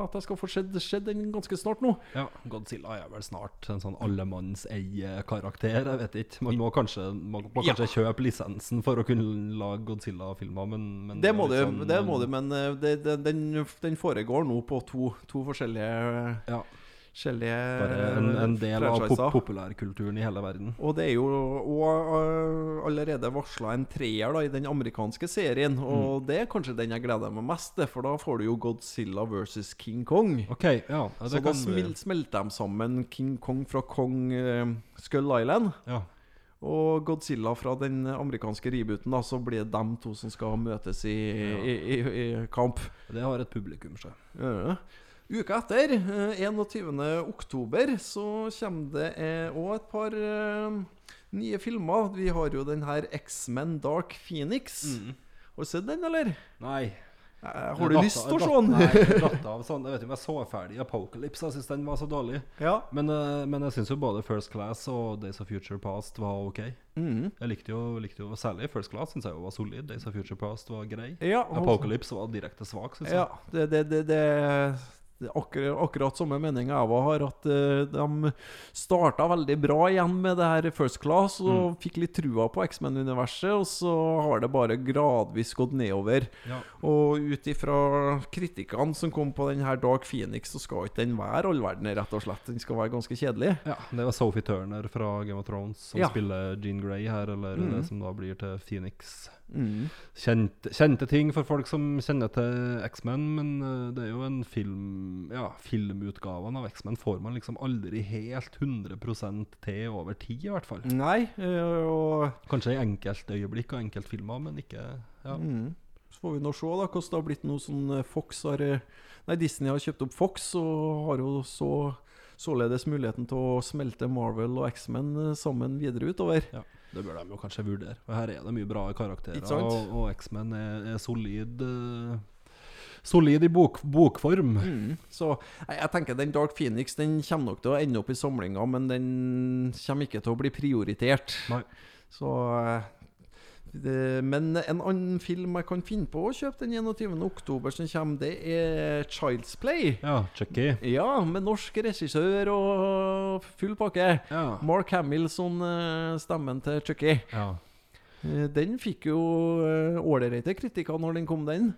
B: at jeg skal få sett, sett den ganske snart nå.
A: Ja, Godzilla er vel snart en sånn allemannseie-karakter, jeg vet ikke. Man må kanskje, man må
B: Ja.
A: kanskje kjøpe lisensen for å kunne lage Godzilla-filmer, men, men
B: Det må du,
A: er litt sånn-
B: det må du men eh, det, det, den, den foregår nå på to, to forskjellige, eh,
A: Ja,
B: forskjellige
A: bare en, en del av pop
B: franchiser.
A: populærkulturen i hele verden.
B: Og det er jo og, øh, allerede varsla en treer da, i den amerikanske serien,
A: Mm.
B: og det er kanskje den jeg gleder meg mest til, for da får du jo Godzilla versus King Kong.
A: Ok, ja. ja,
B: Så
A: Det
B: da
A: kan
B: smil,
A: vi
B: smelter de sammen King Kong fra Kong eh, Skull Island
A: ja.
B: og Godzilla fra den amerikanske rebooten. Da, så blir det dem to som skal møtes i, i, i, i kamp.
A: Det har et publikum, sjø.
B: Ja. Uka etter, eh, 21. oktober, så kommer det òg et par eh, nye filmer. Vi har jo den her X-Men Dark Phoenix.
A: Mm.
B: Har du sett den, eller?
A: Nei.
B: Eh, Har du lyst til å se
A: Nei,
B: den?
A: jeg datt av sånn. Jeg vet ikke om jeg så ferdig Apocalypse, jeg syns den var så dårlig.
B: [laughs] ja.
A: Men, eh, men jeg syns jo både First Class og Days of Future Past var ok.
B: Mhm.
A: Jeg likte jo, likte jo særlig First Class, syns jeg jo var solid. Days of Future Past var grei.
B: Ja, og-
A: Apocalypse var direkte svak, syns jeg.
B: ja. Det, det, det, det, det er akkurat, akkurat samme mening jeg òg har, at eh, de starta veldig bra igjen med det her First Class og fikk litt trua på X-Men-universet, og så har det bare gradvis gått nedover.
A: Ja.
B: Og ut ifra kritikkene som kom på den her Dark Phoenix, så skal ikke den være all verden, rett og slett. Den skal være ganske kjedelig.
A: Ja, det var Sophie Turner fra Game of Thrones som
B: Ja. Mhm.
A: spiller Jean Grey her, eller det som da blir til Phoenix.
B: Mm.
A: Kjente, kjente ting for folk som kjenner til X-Men, men eh, det er jo en film Ja, filmutgaven av X-Men får man liksom aldri helt 100 til over tid, i hvert fall.
B: Nei, eh, og
A: Kanskje i enkeltøyeblikk og enkeltfilmer, men ikke ja.
B: Mm. så får vi nå se da hvordan det har blitt nå som Fox har eh, Nei, Disney har kjøpt opp Fox og har jo så således muligheten til å smelte Marvel og X-Men eh, sammen videre utover.
A: ja. Det bør de jo kanskje vurdere. Og her er det mye bra karakterer,
B: Ikke sant?
A: og, og X-Men er, er solid eh, Solid i bok, bokform.
B: Mm. Så jeg, jeg tenker den Dark Phoenix den kommer nok til å ende opp i samlinga, men den kommer ikke til å bli prioritert.
A: Nei.
B: Så eh, det, Men en annen film jeg kan finne på å kjøpe den 21. oktober som kommer, det er Child's Play.
A: Ja, Chucky.
B: Ja, med norsk regissør og full pakke.
A: Ja.
B: Mark Hamill som eh, stemmen til Chucky.
A: Ja.
B: Eh, Den fikk jo eh, ålreite kritikker når den kom, den.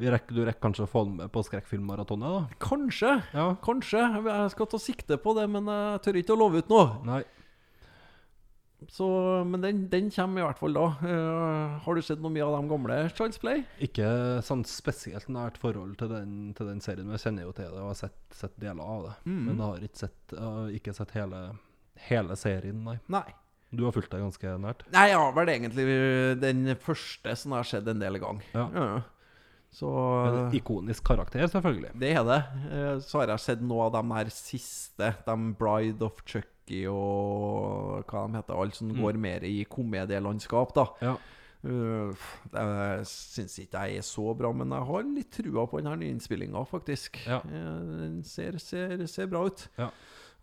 A: Vi rekker, du rekker kanskje å få den med på skrekkfilmmaratonet, da?
B: Kanskje,
A: Ja.
B: kanskje. Jeg skal ta sikte på det, men jeg tør ikke å love ut noe.
A: Nei.
B: Så, men den, den kommer i hvert fall da. Eh, har du sett noe mye av de gamle Child's Play?
A: Ikke sånn spesielt nært forhold til den, til den serien, men jeg kjenner jo til det og har sett, sett deler av det.
B: Mm.
A: Men jeg har ikke sett, eh, ikke sett hele, hele serien, nei.
B: Nei.
A: Du har fulgt det ganske nært?
B: Nei, jeg har vel egentlig den første som har skjedd en del ganger.
A: Ja.
B: Så
A: En ikonisk karakter, selvfølgelig.
B: det er det. Eh, Så har jeg sett noe av de her siste, de Bride of Chucky og hva de heter, alle som går mer i komedielandskap, da.
A: Mm. Ja.
B: Eh, Jeg syns ikke jeg er så bra, men jeg har litt trua på denne nyinnspillinga, faktisk.
A: Ja.
B: Eh, Den ser, ser, ser bra ut.
A: Ja.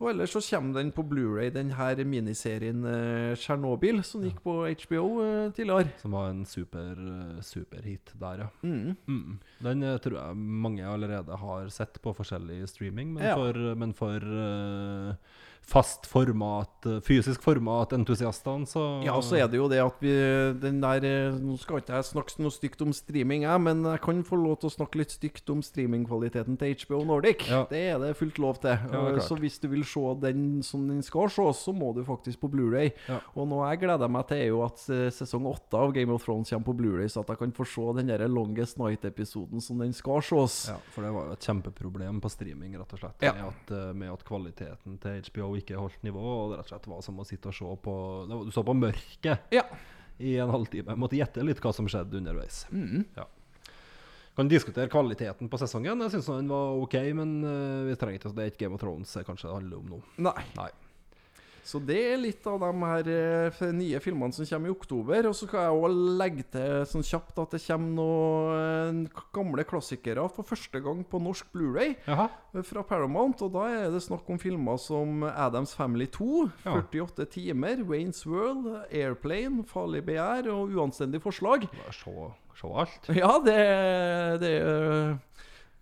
B: Og ellers så kommer den på Blu-ray den her miniserien eh, 'Tsjernobyl', som gikk på HBO eh, tidligere.
A: Som var en super, eh, superhit der, ja. Mm. Den eh, tror jeg mange allerede har sett på forskjellig streaming, men
B: Ja.
A: for, men for eh, fast format, eh, fysisk format-entusiastene, så
B: Ja, og så er det jo det at vi den der, eh, Nå skal ikke jeg snakke noe stygt om streaming, jeg, men jeg kan få lov til å snakke litt stygt om streamingkvaliteten til HBO Nordic.
A: Ja.
B: Det er det fullt lov til.
A: Ja, det er
B: Eh, så hvis du vil se den som den skal ses, så må du faktisk på Blu-ray.
A: Ja.
B: Og noe jeg gleder meg til, er jo at eh, sesong åtte av Game of Thrones kommer på Blu-ray, så at jeg kan få se den der Longest Night-episoden som den skal ses.
A: Ja, for det var jo et kjempeproblem på streaming, rett og slett.
B: Ja.
A: Med, at, eh, med at kvaliteten til HBO ikke holdt nivå, og det rett og slett var som å sitte og se på det var, Du så på mørket
B: Ja.
A: i en halvtime. Måtte gjette litt hva som skjedde underveis. Ja. Kan diskutere kvaliteten på sesongen. Jeg syns den var OK, men eh, vi trenger ikke Det er ikke Game of Thrones eh, kanskje det handler om nå.
B: Nei.
A: Nei.
B: Så det er litt av de her eh, nye filmene som kommer i oktober. Og så skal jeg òg legge til sånn kjapt at det kommer noen eh, gamle klassikere for første gang på norsk Blu-ray
A: Jaha.
B: eh, fra Paramount. Og da er det snakk om filmer som Adams Family 2,
A: Ja.
B: 48 timer, Wayne's World, Airplane, Farlig begjær og Uanstendig forslag.
A: Bare Se, se alt.
B: [laughs] Ja, det, det er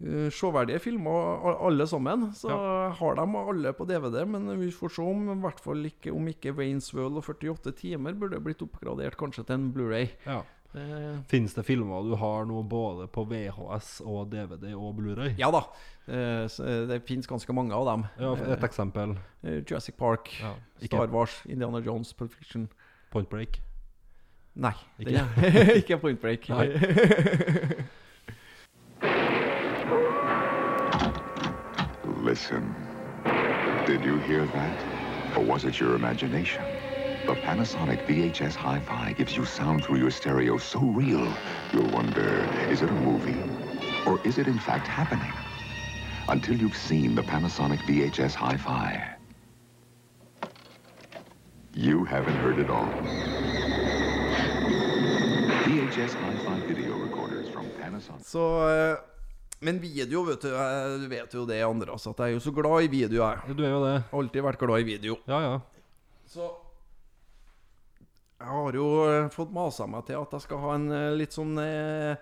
B: eh, Sjåverdige filmer, a- alle sammen. Så har de alle på DVD, men vi får se om i hvert fall ikke om ikke Wayne's World og 48 timer burde blitt oppgradert kanskje til en Blu-ray.
A: Ja.
B: Eh,
A: Fins det filmer du har nå både på VHS og DVD og Blu-ray?
B: Ja da, eh, så det fins ganske mange av dem.
A: Ja, et eksempel.
B: Eh, Jurassic Park,
A: Ja, ikke-
B: Star Wars, Indiana Jones, Pulp Fiction
A: Point Break.
B: Nei,
A: Ikke?
B: den- [laughs] ikke Point Break.
A: Nei.
G: Listen. Did you hear that? Or was it your imagination? The Panasonic VHS Hi-Fi gives you sound through your stereo so real, you'll wonder, is it a movie? Or is it in fact happening? Until you've seen the Panasonic VHS Hi-Fi, you haven't heard it all. VHS Hi-Fi video recorders from Panasonic.
B: Så eh, Men video, vet du. Jeg du vet jo det, Andreas, at jeg er jo så glad i video, jeg.
A: Du er jo det.
B: Alltid vært glad i video.
A: Ja, ja.
B: Så Jeg har jo eh, fått masa meg til at jeg skal ha en eh, litt sånn eh,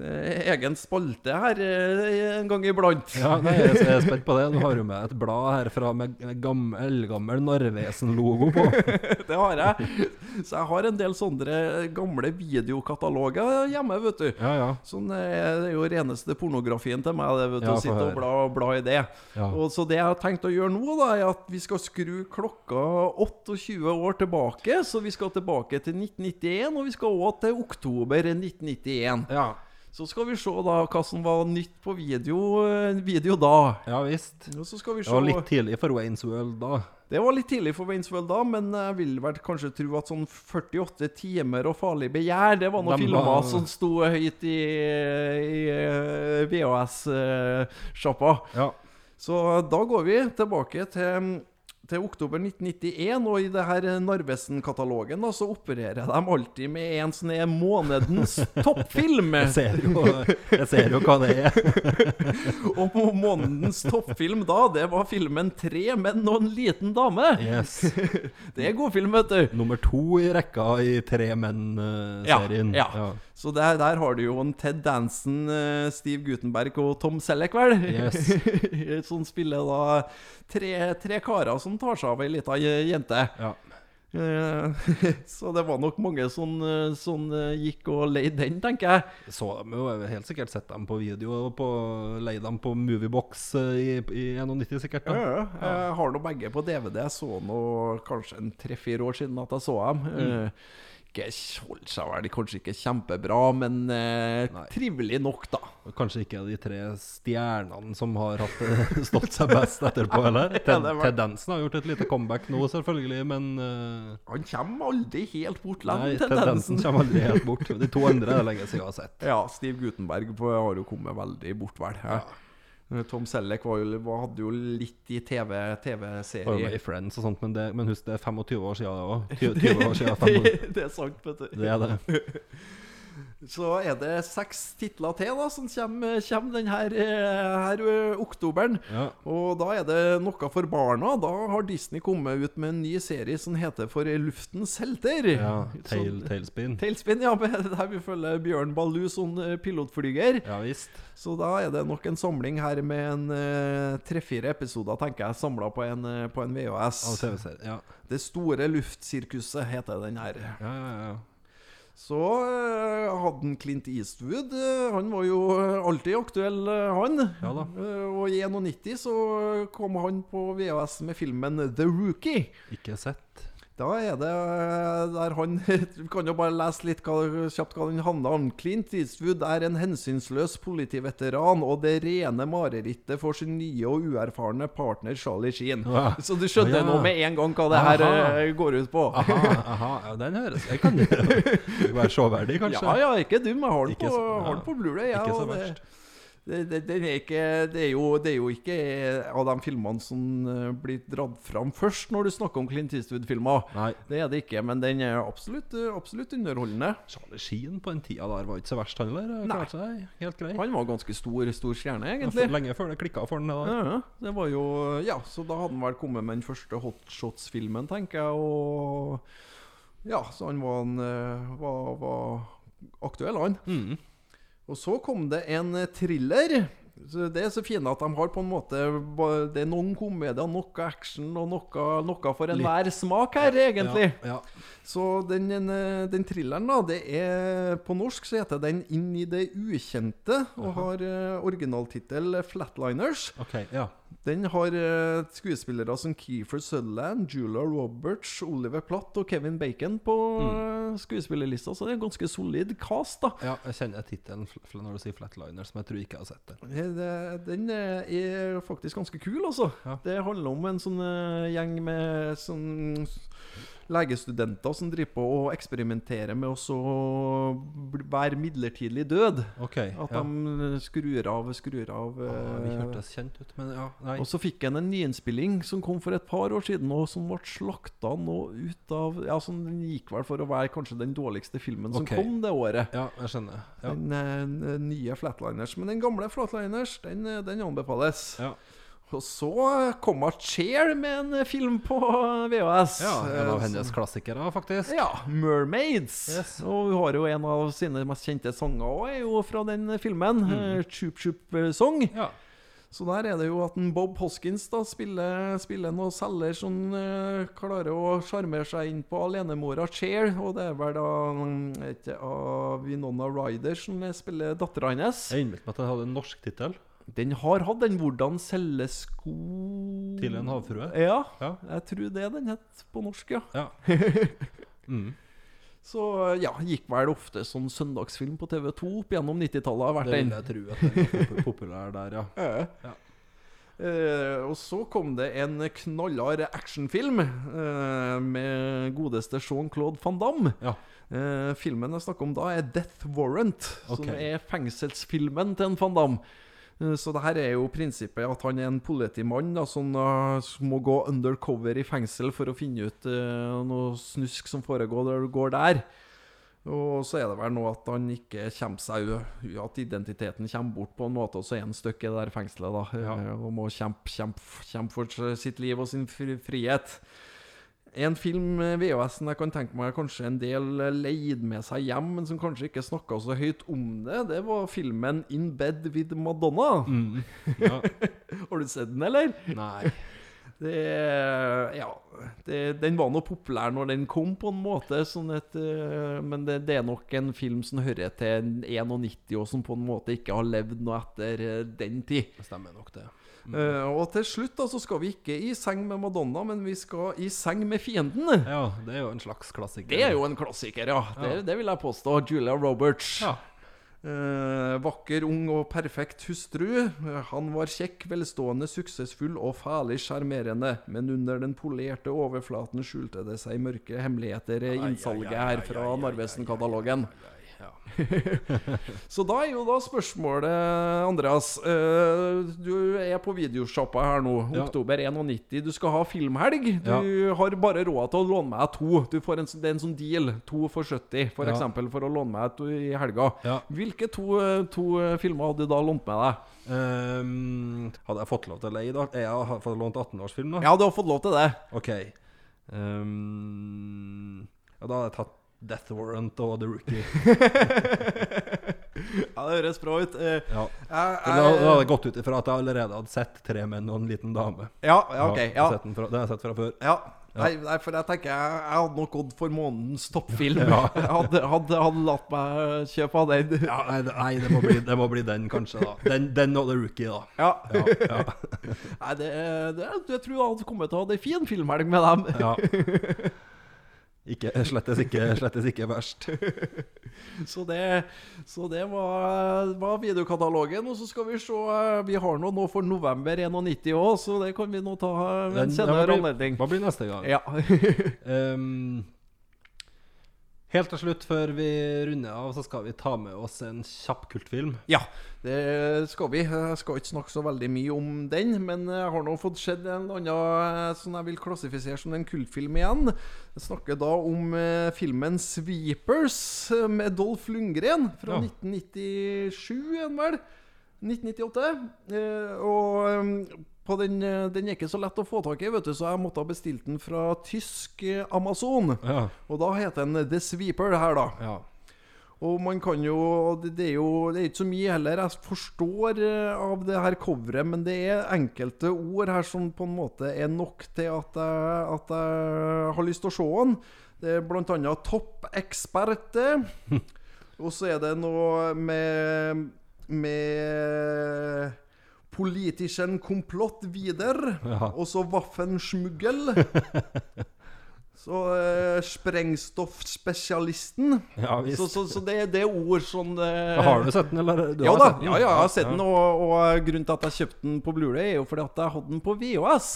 B: eh, egen spalte her eh, en gang iblant.
A: Ja, nei, jeg jeg er spent på det. Du har jo med et blad herfra med med gammel, eldgammel Narvesen-logo på.
B: [laughs] Det har jeg. Så jeg har en del sånne eh, gamle videokataloger hjemme, vet du.
A: Ja, ja.
B: Sånn, eh, det er jo reneste pornografien til meg, det, vet du,
A: Ja,
B: å
A: få
B: sitte og
A: høre.
B: bla, bla i det.
A: Ja.
B: Og så det jeg har tenkt å gjøre nå, da, er at vi skal skru klokka 28 år tilbake. Så vi skal tilbake til 1991, og vi skal òg til oktober 1991.
A: Ja,
B: Så skal vi se da hva som var nytt på video, eh, video da.
A: ja visst.
B: Og så skal vi
A: Det
B: se
A: var litt tidlig for Waynes World da.
B: det var litt tidlig for Waynesville da, men jeg vil vel kanskje tro at sånn 48 timer og farlig begjær, det var noen
A: Dem
B: filmer
A: var-
B: som sto høyt i, i eh, VHS-sjappa.
A: Ja.
B: Så da går vi tilbake til, til oktober 1991, og i det her Narvesen-katalogen da, så opererer de alltid med en sånn en månedens
A: [laughs]
B: toppfilm.
A: Jeg ser, jo, jeg ser jo hva det er.
B: Og på månedens toppfilm da, det var filmen 'Tre menn og en liten dame'. [laughs]
A: Yes.
B: Det er god film, vet du.
A: Nummer to i rekka i Tre eh, menn-serien.
B: Ja, ja. Så der, der har du jo en Ted Danson, eh, Steve Gutenberg og Tom Selleck, vel? [laughs] som spiller da tre, tre karer som tar seg av ei lita je- jente.
A: Ja.
B: Eh, [laughs] Så det var nok mange som, eh, som eh, gikk og leide den, tenker jeg.
A: Så dem jo, jeg har helt sikkert sett dem på video og på, leid dem på Moviebox eh, i, i 91 sikkert.
B: Ja,
A: Da.
B: ja. Jeg har nå begge på DVD. Jeg så nå kanskje en tre-fire år siden at jeg så dem.
A: Mm.
B: Eh, Ikke holdt seg vel kanskje ikke kjempebra, men eh, trivelig nok, da.
A: Og Kanskje ikke de tre stjernene som har hatt det- stått seg best etterpå,
B: [laughs]
A: eller? Ten,
B: det var-
A: tendensen har gjort et lite comeback nå, selvfølgelig, men eh,
B: Han kommer aldri helt bort,
A: Nei,
B: den
A: tendensen
B: tendensen.
A: kommer aldri helt bort. De to andre er det lenge siden jeg har sett.
B: Ja, Steve Gutenberg på- har jo kommet veldig bort, vel. Ja. Eh, Tom Selleck var jo, var- hadde jo litt i TV-serie.
A: Var jo med
B: [laughs] TV
A: i Friends og sånt, men, det, men husk, det er 25 år siden det
B: [laughs]
A: òg. 20, 20 år siden. 25 år.
B: det, det er sant, vet du.
A: Det er det.
B: Så er det seks titler til da som kommer, kommer denne her, eh, her eh, oktoberen.
A: Ja.
B: Og da er det noe for barna. Da har Disney kommet ut med en ny serie som heter For luftens helter.
A: Ja,
B: Sånn-
A: tail,
B: Som-
A: tailspin.
B: Tailspin, ja. [laughs] Der vi følger Bjørn Baloo som eh, pilotflyger.
A: Ja visst.
B: Så da er det nok en samling her med en eh, tre-fire episoder, tenker jeg, samla på, en, eh, på en VHS.
A: Av TV-serie. Ja.
B: Det store luftsirkuset heter den her.
A: Ja, ja, ja.
B: Så eh, hadde han Clint Eastwood. eh, han var jo eh, alltid aktuell, eh, han.
A: Ja da.
B: Eh, og i 91 så kom han på VHS med filmen The Rookie.
A: Ikke sett.
B: Da er det eh, der han [laughs] Du kan jo bare lese litt hva, kjapt hva den handler om. Clint Eastwood er en hensynsløs politiveteran og det rene marerittet for sin nye og uerfarne partner Charlie Sheen.
A: Ja.
B: Så du skjønner
A: Ja.
B: nå med en gang hva det her
A: Aha.
B: eh, går ut på.
A: Aha, aha, ja, den høres Jeg kan jo være showverdig, kanskje.
B: Ja, ja, ikke dum. Jeg har den
A: Ikke
B: på,
A: så- ja.
B: har den på Blu-ray. jeg,
A: Ikke så
B: og det-
A: verst.
B: Det, det, den er ikke, det, er jo, det er jo ikke av de filmene som eh, blir dratt fram først når du snakker om Clint Eastwood-filmer.
A: Nei.
B: Det er det ikke, men den er absolutt, eh, absolutt underholdende.
A: Charlie Sheen på den tida der var ikke så verst, han heller. eh,
B: Nei.
A: Klarte seg helt grei.
B: Han var ganske stor, stor stjerne, egentlig.
A: Lenge før det klikka for han. Da.
B: Ja, ja. det var jo Ja, så da hadde han vel kommet med den første Hotshots-filmen, tenker jeg, og Ja, så han var, en, eh, var, var aktuell, han.
A: Mm.
B: Og så kom det en eh, thriller. Så det er så fine at de har på en måte ba- Det er noen komedier, noe action og noe, noe for enhver smak her, egentlig.
A: Ja,
B: Så den, den, eh, den thrilleren, da, det er På norsk så heter den 'Inn i det ukjente' og har eh, originaltittel 'Flatliners'.
A: ok, ja.
B: Den har eh, skuespillere som Keefer Sutherland, Julia Roberts, Oliver Platt og Kevin Bacon på
A: Mm.
B: eh, skuespillerlista, så det er en ganske solid cast, da.
A: ja, jeg kjenner tittelen fl- fl- når du sier 'Flatliners', men jeg tror ikke jeg har sett den.
B: Eh, det- Den eh, er faktisk ganske kul, altså.
A: Ja.
B: Det handler om en sånn eh, gjeng med sånn s- legestudenter som driver på og eksperimenterer med å så bl- være midlertidig død.
A: Ok,
B: At
A: ja.
B: de skrur av, skrur av
A: Ja,
B: eh,
A: Vi hørtes kjent ut, men ja, nei.
B: Og så fikk han en nyinnspilling som kom for et par år siden, og som ble slakta nå ut av Ja, som den gikk vel for å være kanskje den dårligste filmen som
A: Ok.
B: kom det året.
A: Ja, jeg skjønner. Ja.
B: Den eh, nye Flatliners. Men den gamle Flatliners, den, eh, den anbefales.
A: Ja.
B: Og så eh, kom Cher med en eh, film på eh, VHS.
A: ja, en av
B: Eh,
A: hennes klassikere, faktisk.
B: ja, 'Mermaids'.
A: Yes.
B: Og hun har jo en av sine mest kjente sanger også, er jo fra den eh, filmen.
A: Mm.
B: eh, 'Chup Chup eh, Song'.
A: Ja.
B: Så der er det jo at en Bob Hoskins da spiller, spiller noen selger som eh, klarer å sjarmere seg inn på alenemora Cher, og det er vel da mm, er ikke av Vinona Ryder som spiller dattera hennes.
A: Jeg innbilte meg at den hadde en norsk tittel.
B: Den har hatt den 'Hvordan selge sko'
A: Til en havfrue.
B: Ja,
A: Ja.
B: jeg tror det den het på norsk, ja.
A: Ja.
B: Så ja, gikk vel ofte som søndagsfilm på TV2 opp gjennom 90-tallet, har vært
A: Det
B: den.
A: vil jeg tro at den er popu- populær der, ja.
B: Eh, og så kom det en knallhard actionfilm eh, med godeste Jean-Claude van Damme.
A: ja.
B: Eh, filmen jeg snakker om da, er 'Death Warrant',
A: Ok.
B: som er fengselsfilmen til en van Damme. Eh, Så det her er jo prinsippet at han er en politimann da, som eh, som må gå undercover i fengsel for å finne ut eh, noe snusk som foregår der. Går der. Og så er det vel nå at han ikke kommer seg u- At identiteten kommer bort på en måte, og så er han stuck i det der fengselet da, eh, og må kjempe, kjempe, kjempe for s- sitt liv og sin fri- frihet. En film eh, VHS-en jeg kan tenke meg kanskje en del eh, leid med seg hjem, men som kanskje ikke snakka så høyt om det, det var filmen 'In [laughs] Bed With Madonna'.
A: ja.
B: Har du sett den, eller?
A: Nei.
B: Det er- Ja. Det, den var nå populær når den kom, på en måte. Sånn at, eh, men det, det er nok en film som hører til en 91, og som på en måte ikke har levd noe etter eh, den tid.
A: Stemmer nok det.
B: Eh, og til slutt da, så skal vi ikke i seng med Madonna, men vi skal i seng med fienden.
A: Ja, det er jo en slags klassiker.
B: Det er jo en klassiker, ja. Det, det vil jeg påstå. Julia Roberts.
A: Ja.
B: Eh, vakker, ung og perfekt hustru. Eh, Han var kjekk, velstående, suksessfull og fælig sjarmerende. Men under den polerte overflaten skjulte det seg mørke hemmeligheter i innsalget her fra Narvesen-katalogen. [laughs] Så da er jo da spørsmålet, Andreas. eh, Du er på videosjappa her nå.
A: Ja.
B: Oktober 91. Du skal ha filmhelg. Du
A: Ja.
B: har bare råd til å låne meg to. Du får en, sånn- det er en sånn deal. To for 70, for
A: Ja.
B: eksempel, for å låne meg to i helga.
A: Ja.
B: Hvilke to, eh, to eh, filmer hadde du da lånt med deg?
A: Ehm, hadde jeg fått lov til å leie, da? Jeg har fått lånt 18-årsfilm, da?
B: Ja, du har fått lov til det.
A: Ok. Ehm, ja, da hadde jeg tatt Death Warrant og The Rookie.
B: Ja, Det høres bra ut. Eh,
A: Ja.
B: jeg-
A: For Da, da hadde jeg
B: jeg-
A: gått ut ifra at jeg allerede hadde sett tre menn og en liten dame.
B: Ja, ja, ok. Ja.
A: sett den fra, det har jeg sett fra før.
B: Ja. Nei, nei, for jeg tenker jeg, jeg hadde nok gått for månedens toppfilm. [laughs] Jeg hadde, hadde, hadde latt meg kjøpe av den.
A: Ja, nei, det- nei det, må bli, det må bli den, kanskje. da Den, den og The Rookie, da.
B: [laughs] Ja.
A: Ja, ja,
B: Nei, det, det, jeg tror jeg hadde kommet til å ha en fin filmhelg med dem.
A: ja. Ikke, slettes, ikke, slettes ikke
B: [laughs]
A: verst.
B: [laughs] Så det, så det var, var videokatalogen. Og så skal vi se eh, Vi har nå noe for november 91 òg, så det kan vi nå ta ved
A: Den-
B: en
A: ja,
B: senere
A: hva blir-
B: anledning.
A: Hva blir neste gang?
B: Ja. [laughs]
A: Ehm, helt til slutt, før vi runder av, så skal vi ta med oss en kjapp kultfilm.
B: ja, det skal vi. Jeg skal ikke snakke så veldig mye om den, men jeg har nå fått sett en annen eh, som jeg vil klassifisere som en kultfilm igjen. Jeg snakker da om eh, filmen 'Sweepers' eh, med Dolph Lundgren
A: Ja.
B: fra 1997, er den vel? 1998. eh, Og um, på den, eh, den er ikke så lett å få tak i, vet du, så jeg måtte ha bestilt den fra tysk eh, Amazon.
A: Ja.
B: Og da heter den The Sweeper her, da.
A: ja.
B: Og man kan jo Det, det er jo det er ikke så mye heller. Jeg forstår eh, av det her coveret, men det er enkelte ord her som på en måte er nok til at jeg, at jeg har lyst til å se den. Det er blant
A: [laughs]
B: annet toppeksperte. Og så er det noe med Med Politischen komplott vider.
A: Ja.
B: Og
A: [laughs]
B: så Waffensmuggel. Så eh, Sprengstoffspesialisten.
A: Ja, visst.
B: så så, så det, det er ord som eh,
A: Har du sett den, eller? Du
B: ja
A: har
B: da,
A: sett den?
B: ja, ja, jeg har sett den, og, og grunnen til at jeg kjøpte den på Blu-ray er jo fordi at jeg hadde den på VHS.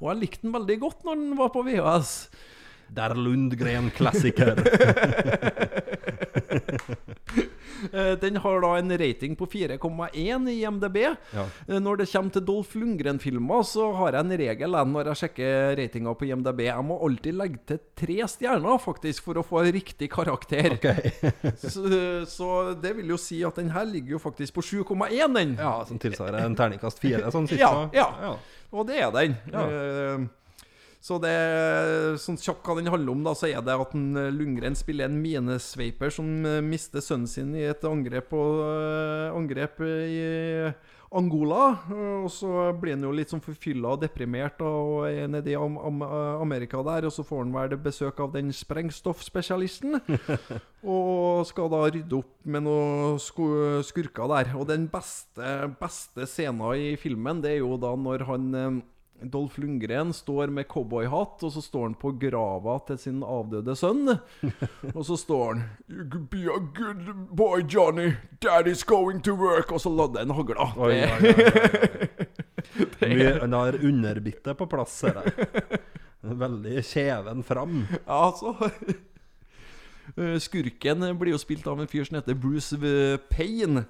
B: Og jeg likte den veldig godt når den var på VHS.
A: Der Lundgren-klassiker.
B: Eh, Den har da en rating på 4,1 i MDB.
A: Ja.
B: Eh, Når det kommer til Dolph Lundgren-filmer, så har jeg en regel jeg, når jeg sjekker ratinga på IMDb. Jeg må alltid legge til tre stjerner, faktisk, for å få riktig karakter.
A: [laughs]
B: så, så det vil jo si at den her ligger jo faktisk på 7,1, den.
A: [laughs] Ja, som tilsvarer en terningkast fire, sånn cirka.
B: Ja, ja. Og det er den.
A: Ja.
B: Eh, Så det sånn kjapt hva den handler om, da, så er det at en eh, Lundgren spiller en minesveiper som eh, mister sønnen sin i et angrep, på, eh, angrep i Angola. Eh, Og så blir han jo litt sånn forfylla og deprimert da, og er nede i Am Am Amerika der. Og så får han vel besøk av
A: [laughs]
B: den sprengstoffspesialisten. Og skal da rydde opp med noen sku- skurker der. Og den beste, beste scenen i filmen, det er jo da når han eh, Dolph Lundgren står med cowboyhatt, og så står han på grava til sin avdøde
A: [laughs]
B: sønn. Og så står han You could be a good boy, Johnny. Daddy's going to work. Og så lader han hagla.
A: Oi,
B: Det-
A: oi, oi, oi, oi. Mye- Han har underbittet på plass, ser jeg. Veldig kjeven fram.
B: Ja, altså [laughs] Eh, Skurken blir jo spilt av en fyr som heter Bruce eh, Payne.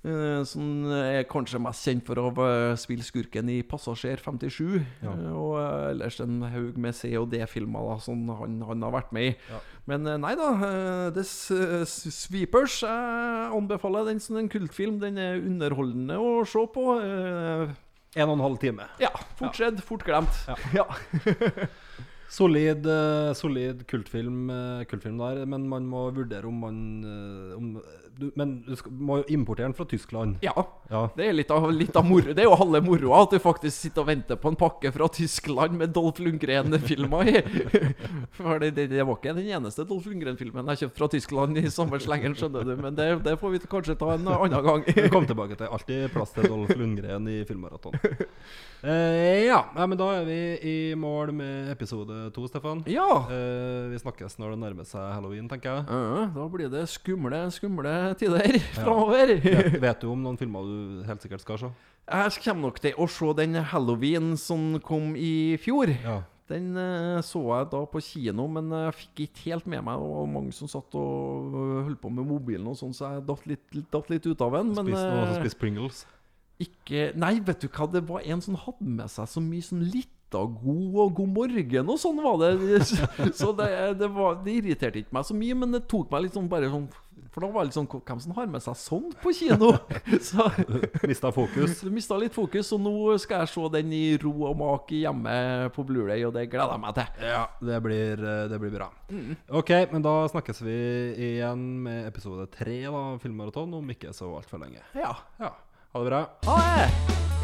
B: eh, Som er kanskje mest kjent for å eh, spille skurken i 'Passasjer 57'.
A: Ja.
B: eh, Og eh, ellers en haug med C- og D-filmer da som han, han har vært med i.
A: Ja.
B: Men eh, nei da. eh, The S- eh, S- Sweepers jeg anbefaler den som en kultfilm. Den er underholdende å se på. eh,
A: En og en halv time.
B: [laughs] Ja, fort skjedd, fort glemt. Ja.
A: Solid, eh, solid kultfilm, eh, kultfilm der, men man må vurdere om man eh, om, du, Men du skal, må importere den fra Tyskland.
B: Ja.
A: Ja.
B: Det er litt av, litt av moro. Det er jo halve moroa at du faktisk sitter og venter på en pakke fra Tyskland med Dolph Lundgren-filmer i. [laughs] For det, det, det var ikke den eneste Dolph Lundgren-filmen jeg kjøpte fra Tyskland i samme slengen, skjønner du. Men det, det får vi kanskje ta en annen gang. [laughs]
A: Vi kom tilbake til alltid plass til Dolph Lundgren i filmmaraton. Eh, ja. ja, men da er vi i mål med episode to, Stefan.
B: Ja.
A: Eh, vi snakkes når det nærmer seg halloween, tenker jeg.
B: Ja, da blir det skumle, skumle tider framover.
A: Vet, vet du om noen filmer du helt sikkert skal se?
B: Jeg kommer nok til å se den halloween som kom i fjor.
A: Ja.
B: Den eh, så jeg da på kino, men jeg fikk ikke helt med meg. Det var mange som satt og eh, holdt på med mobilen, og sånn, så jeg datt litt, datt litt ut av den. Men
A: Spis, noen som
B: eh,
A: spiser Pringles? [laughs]
B: ikke Nei, vet du hva, det var en som hadde med seg så mye sånn litt av god og god morgen og sånn var det. [laughs] Så det, det, var, det irriterte ikke meg så mye, men det tok meg litt sånn bare sånn For da var det litt sånn Hvem som har med seg sånn på kino? [laughs] Så
A: Mista fokus.
B: så du mista litt fokus, og nå skal jeg se den i ro og mak hjemme på Blu-ray og det gleder jeg meg til.
A: Ja, det blir, eh, det blir bra.
B: Mm.
A: Ok, men da snakkes vi igjen med episode tre av Filmmaraton om ikke så altfor lenge.
B: Ja.
A: Ja. Ha det bra.
B: Ha det!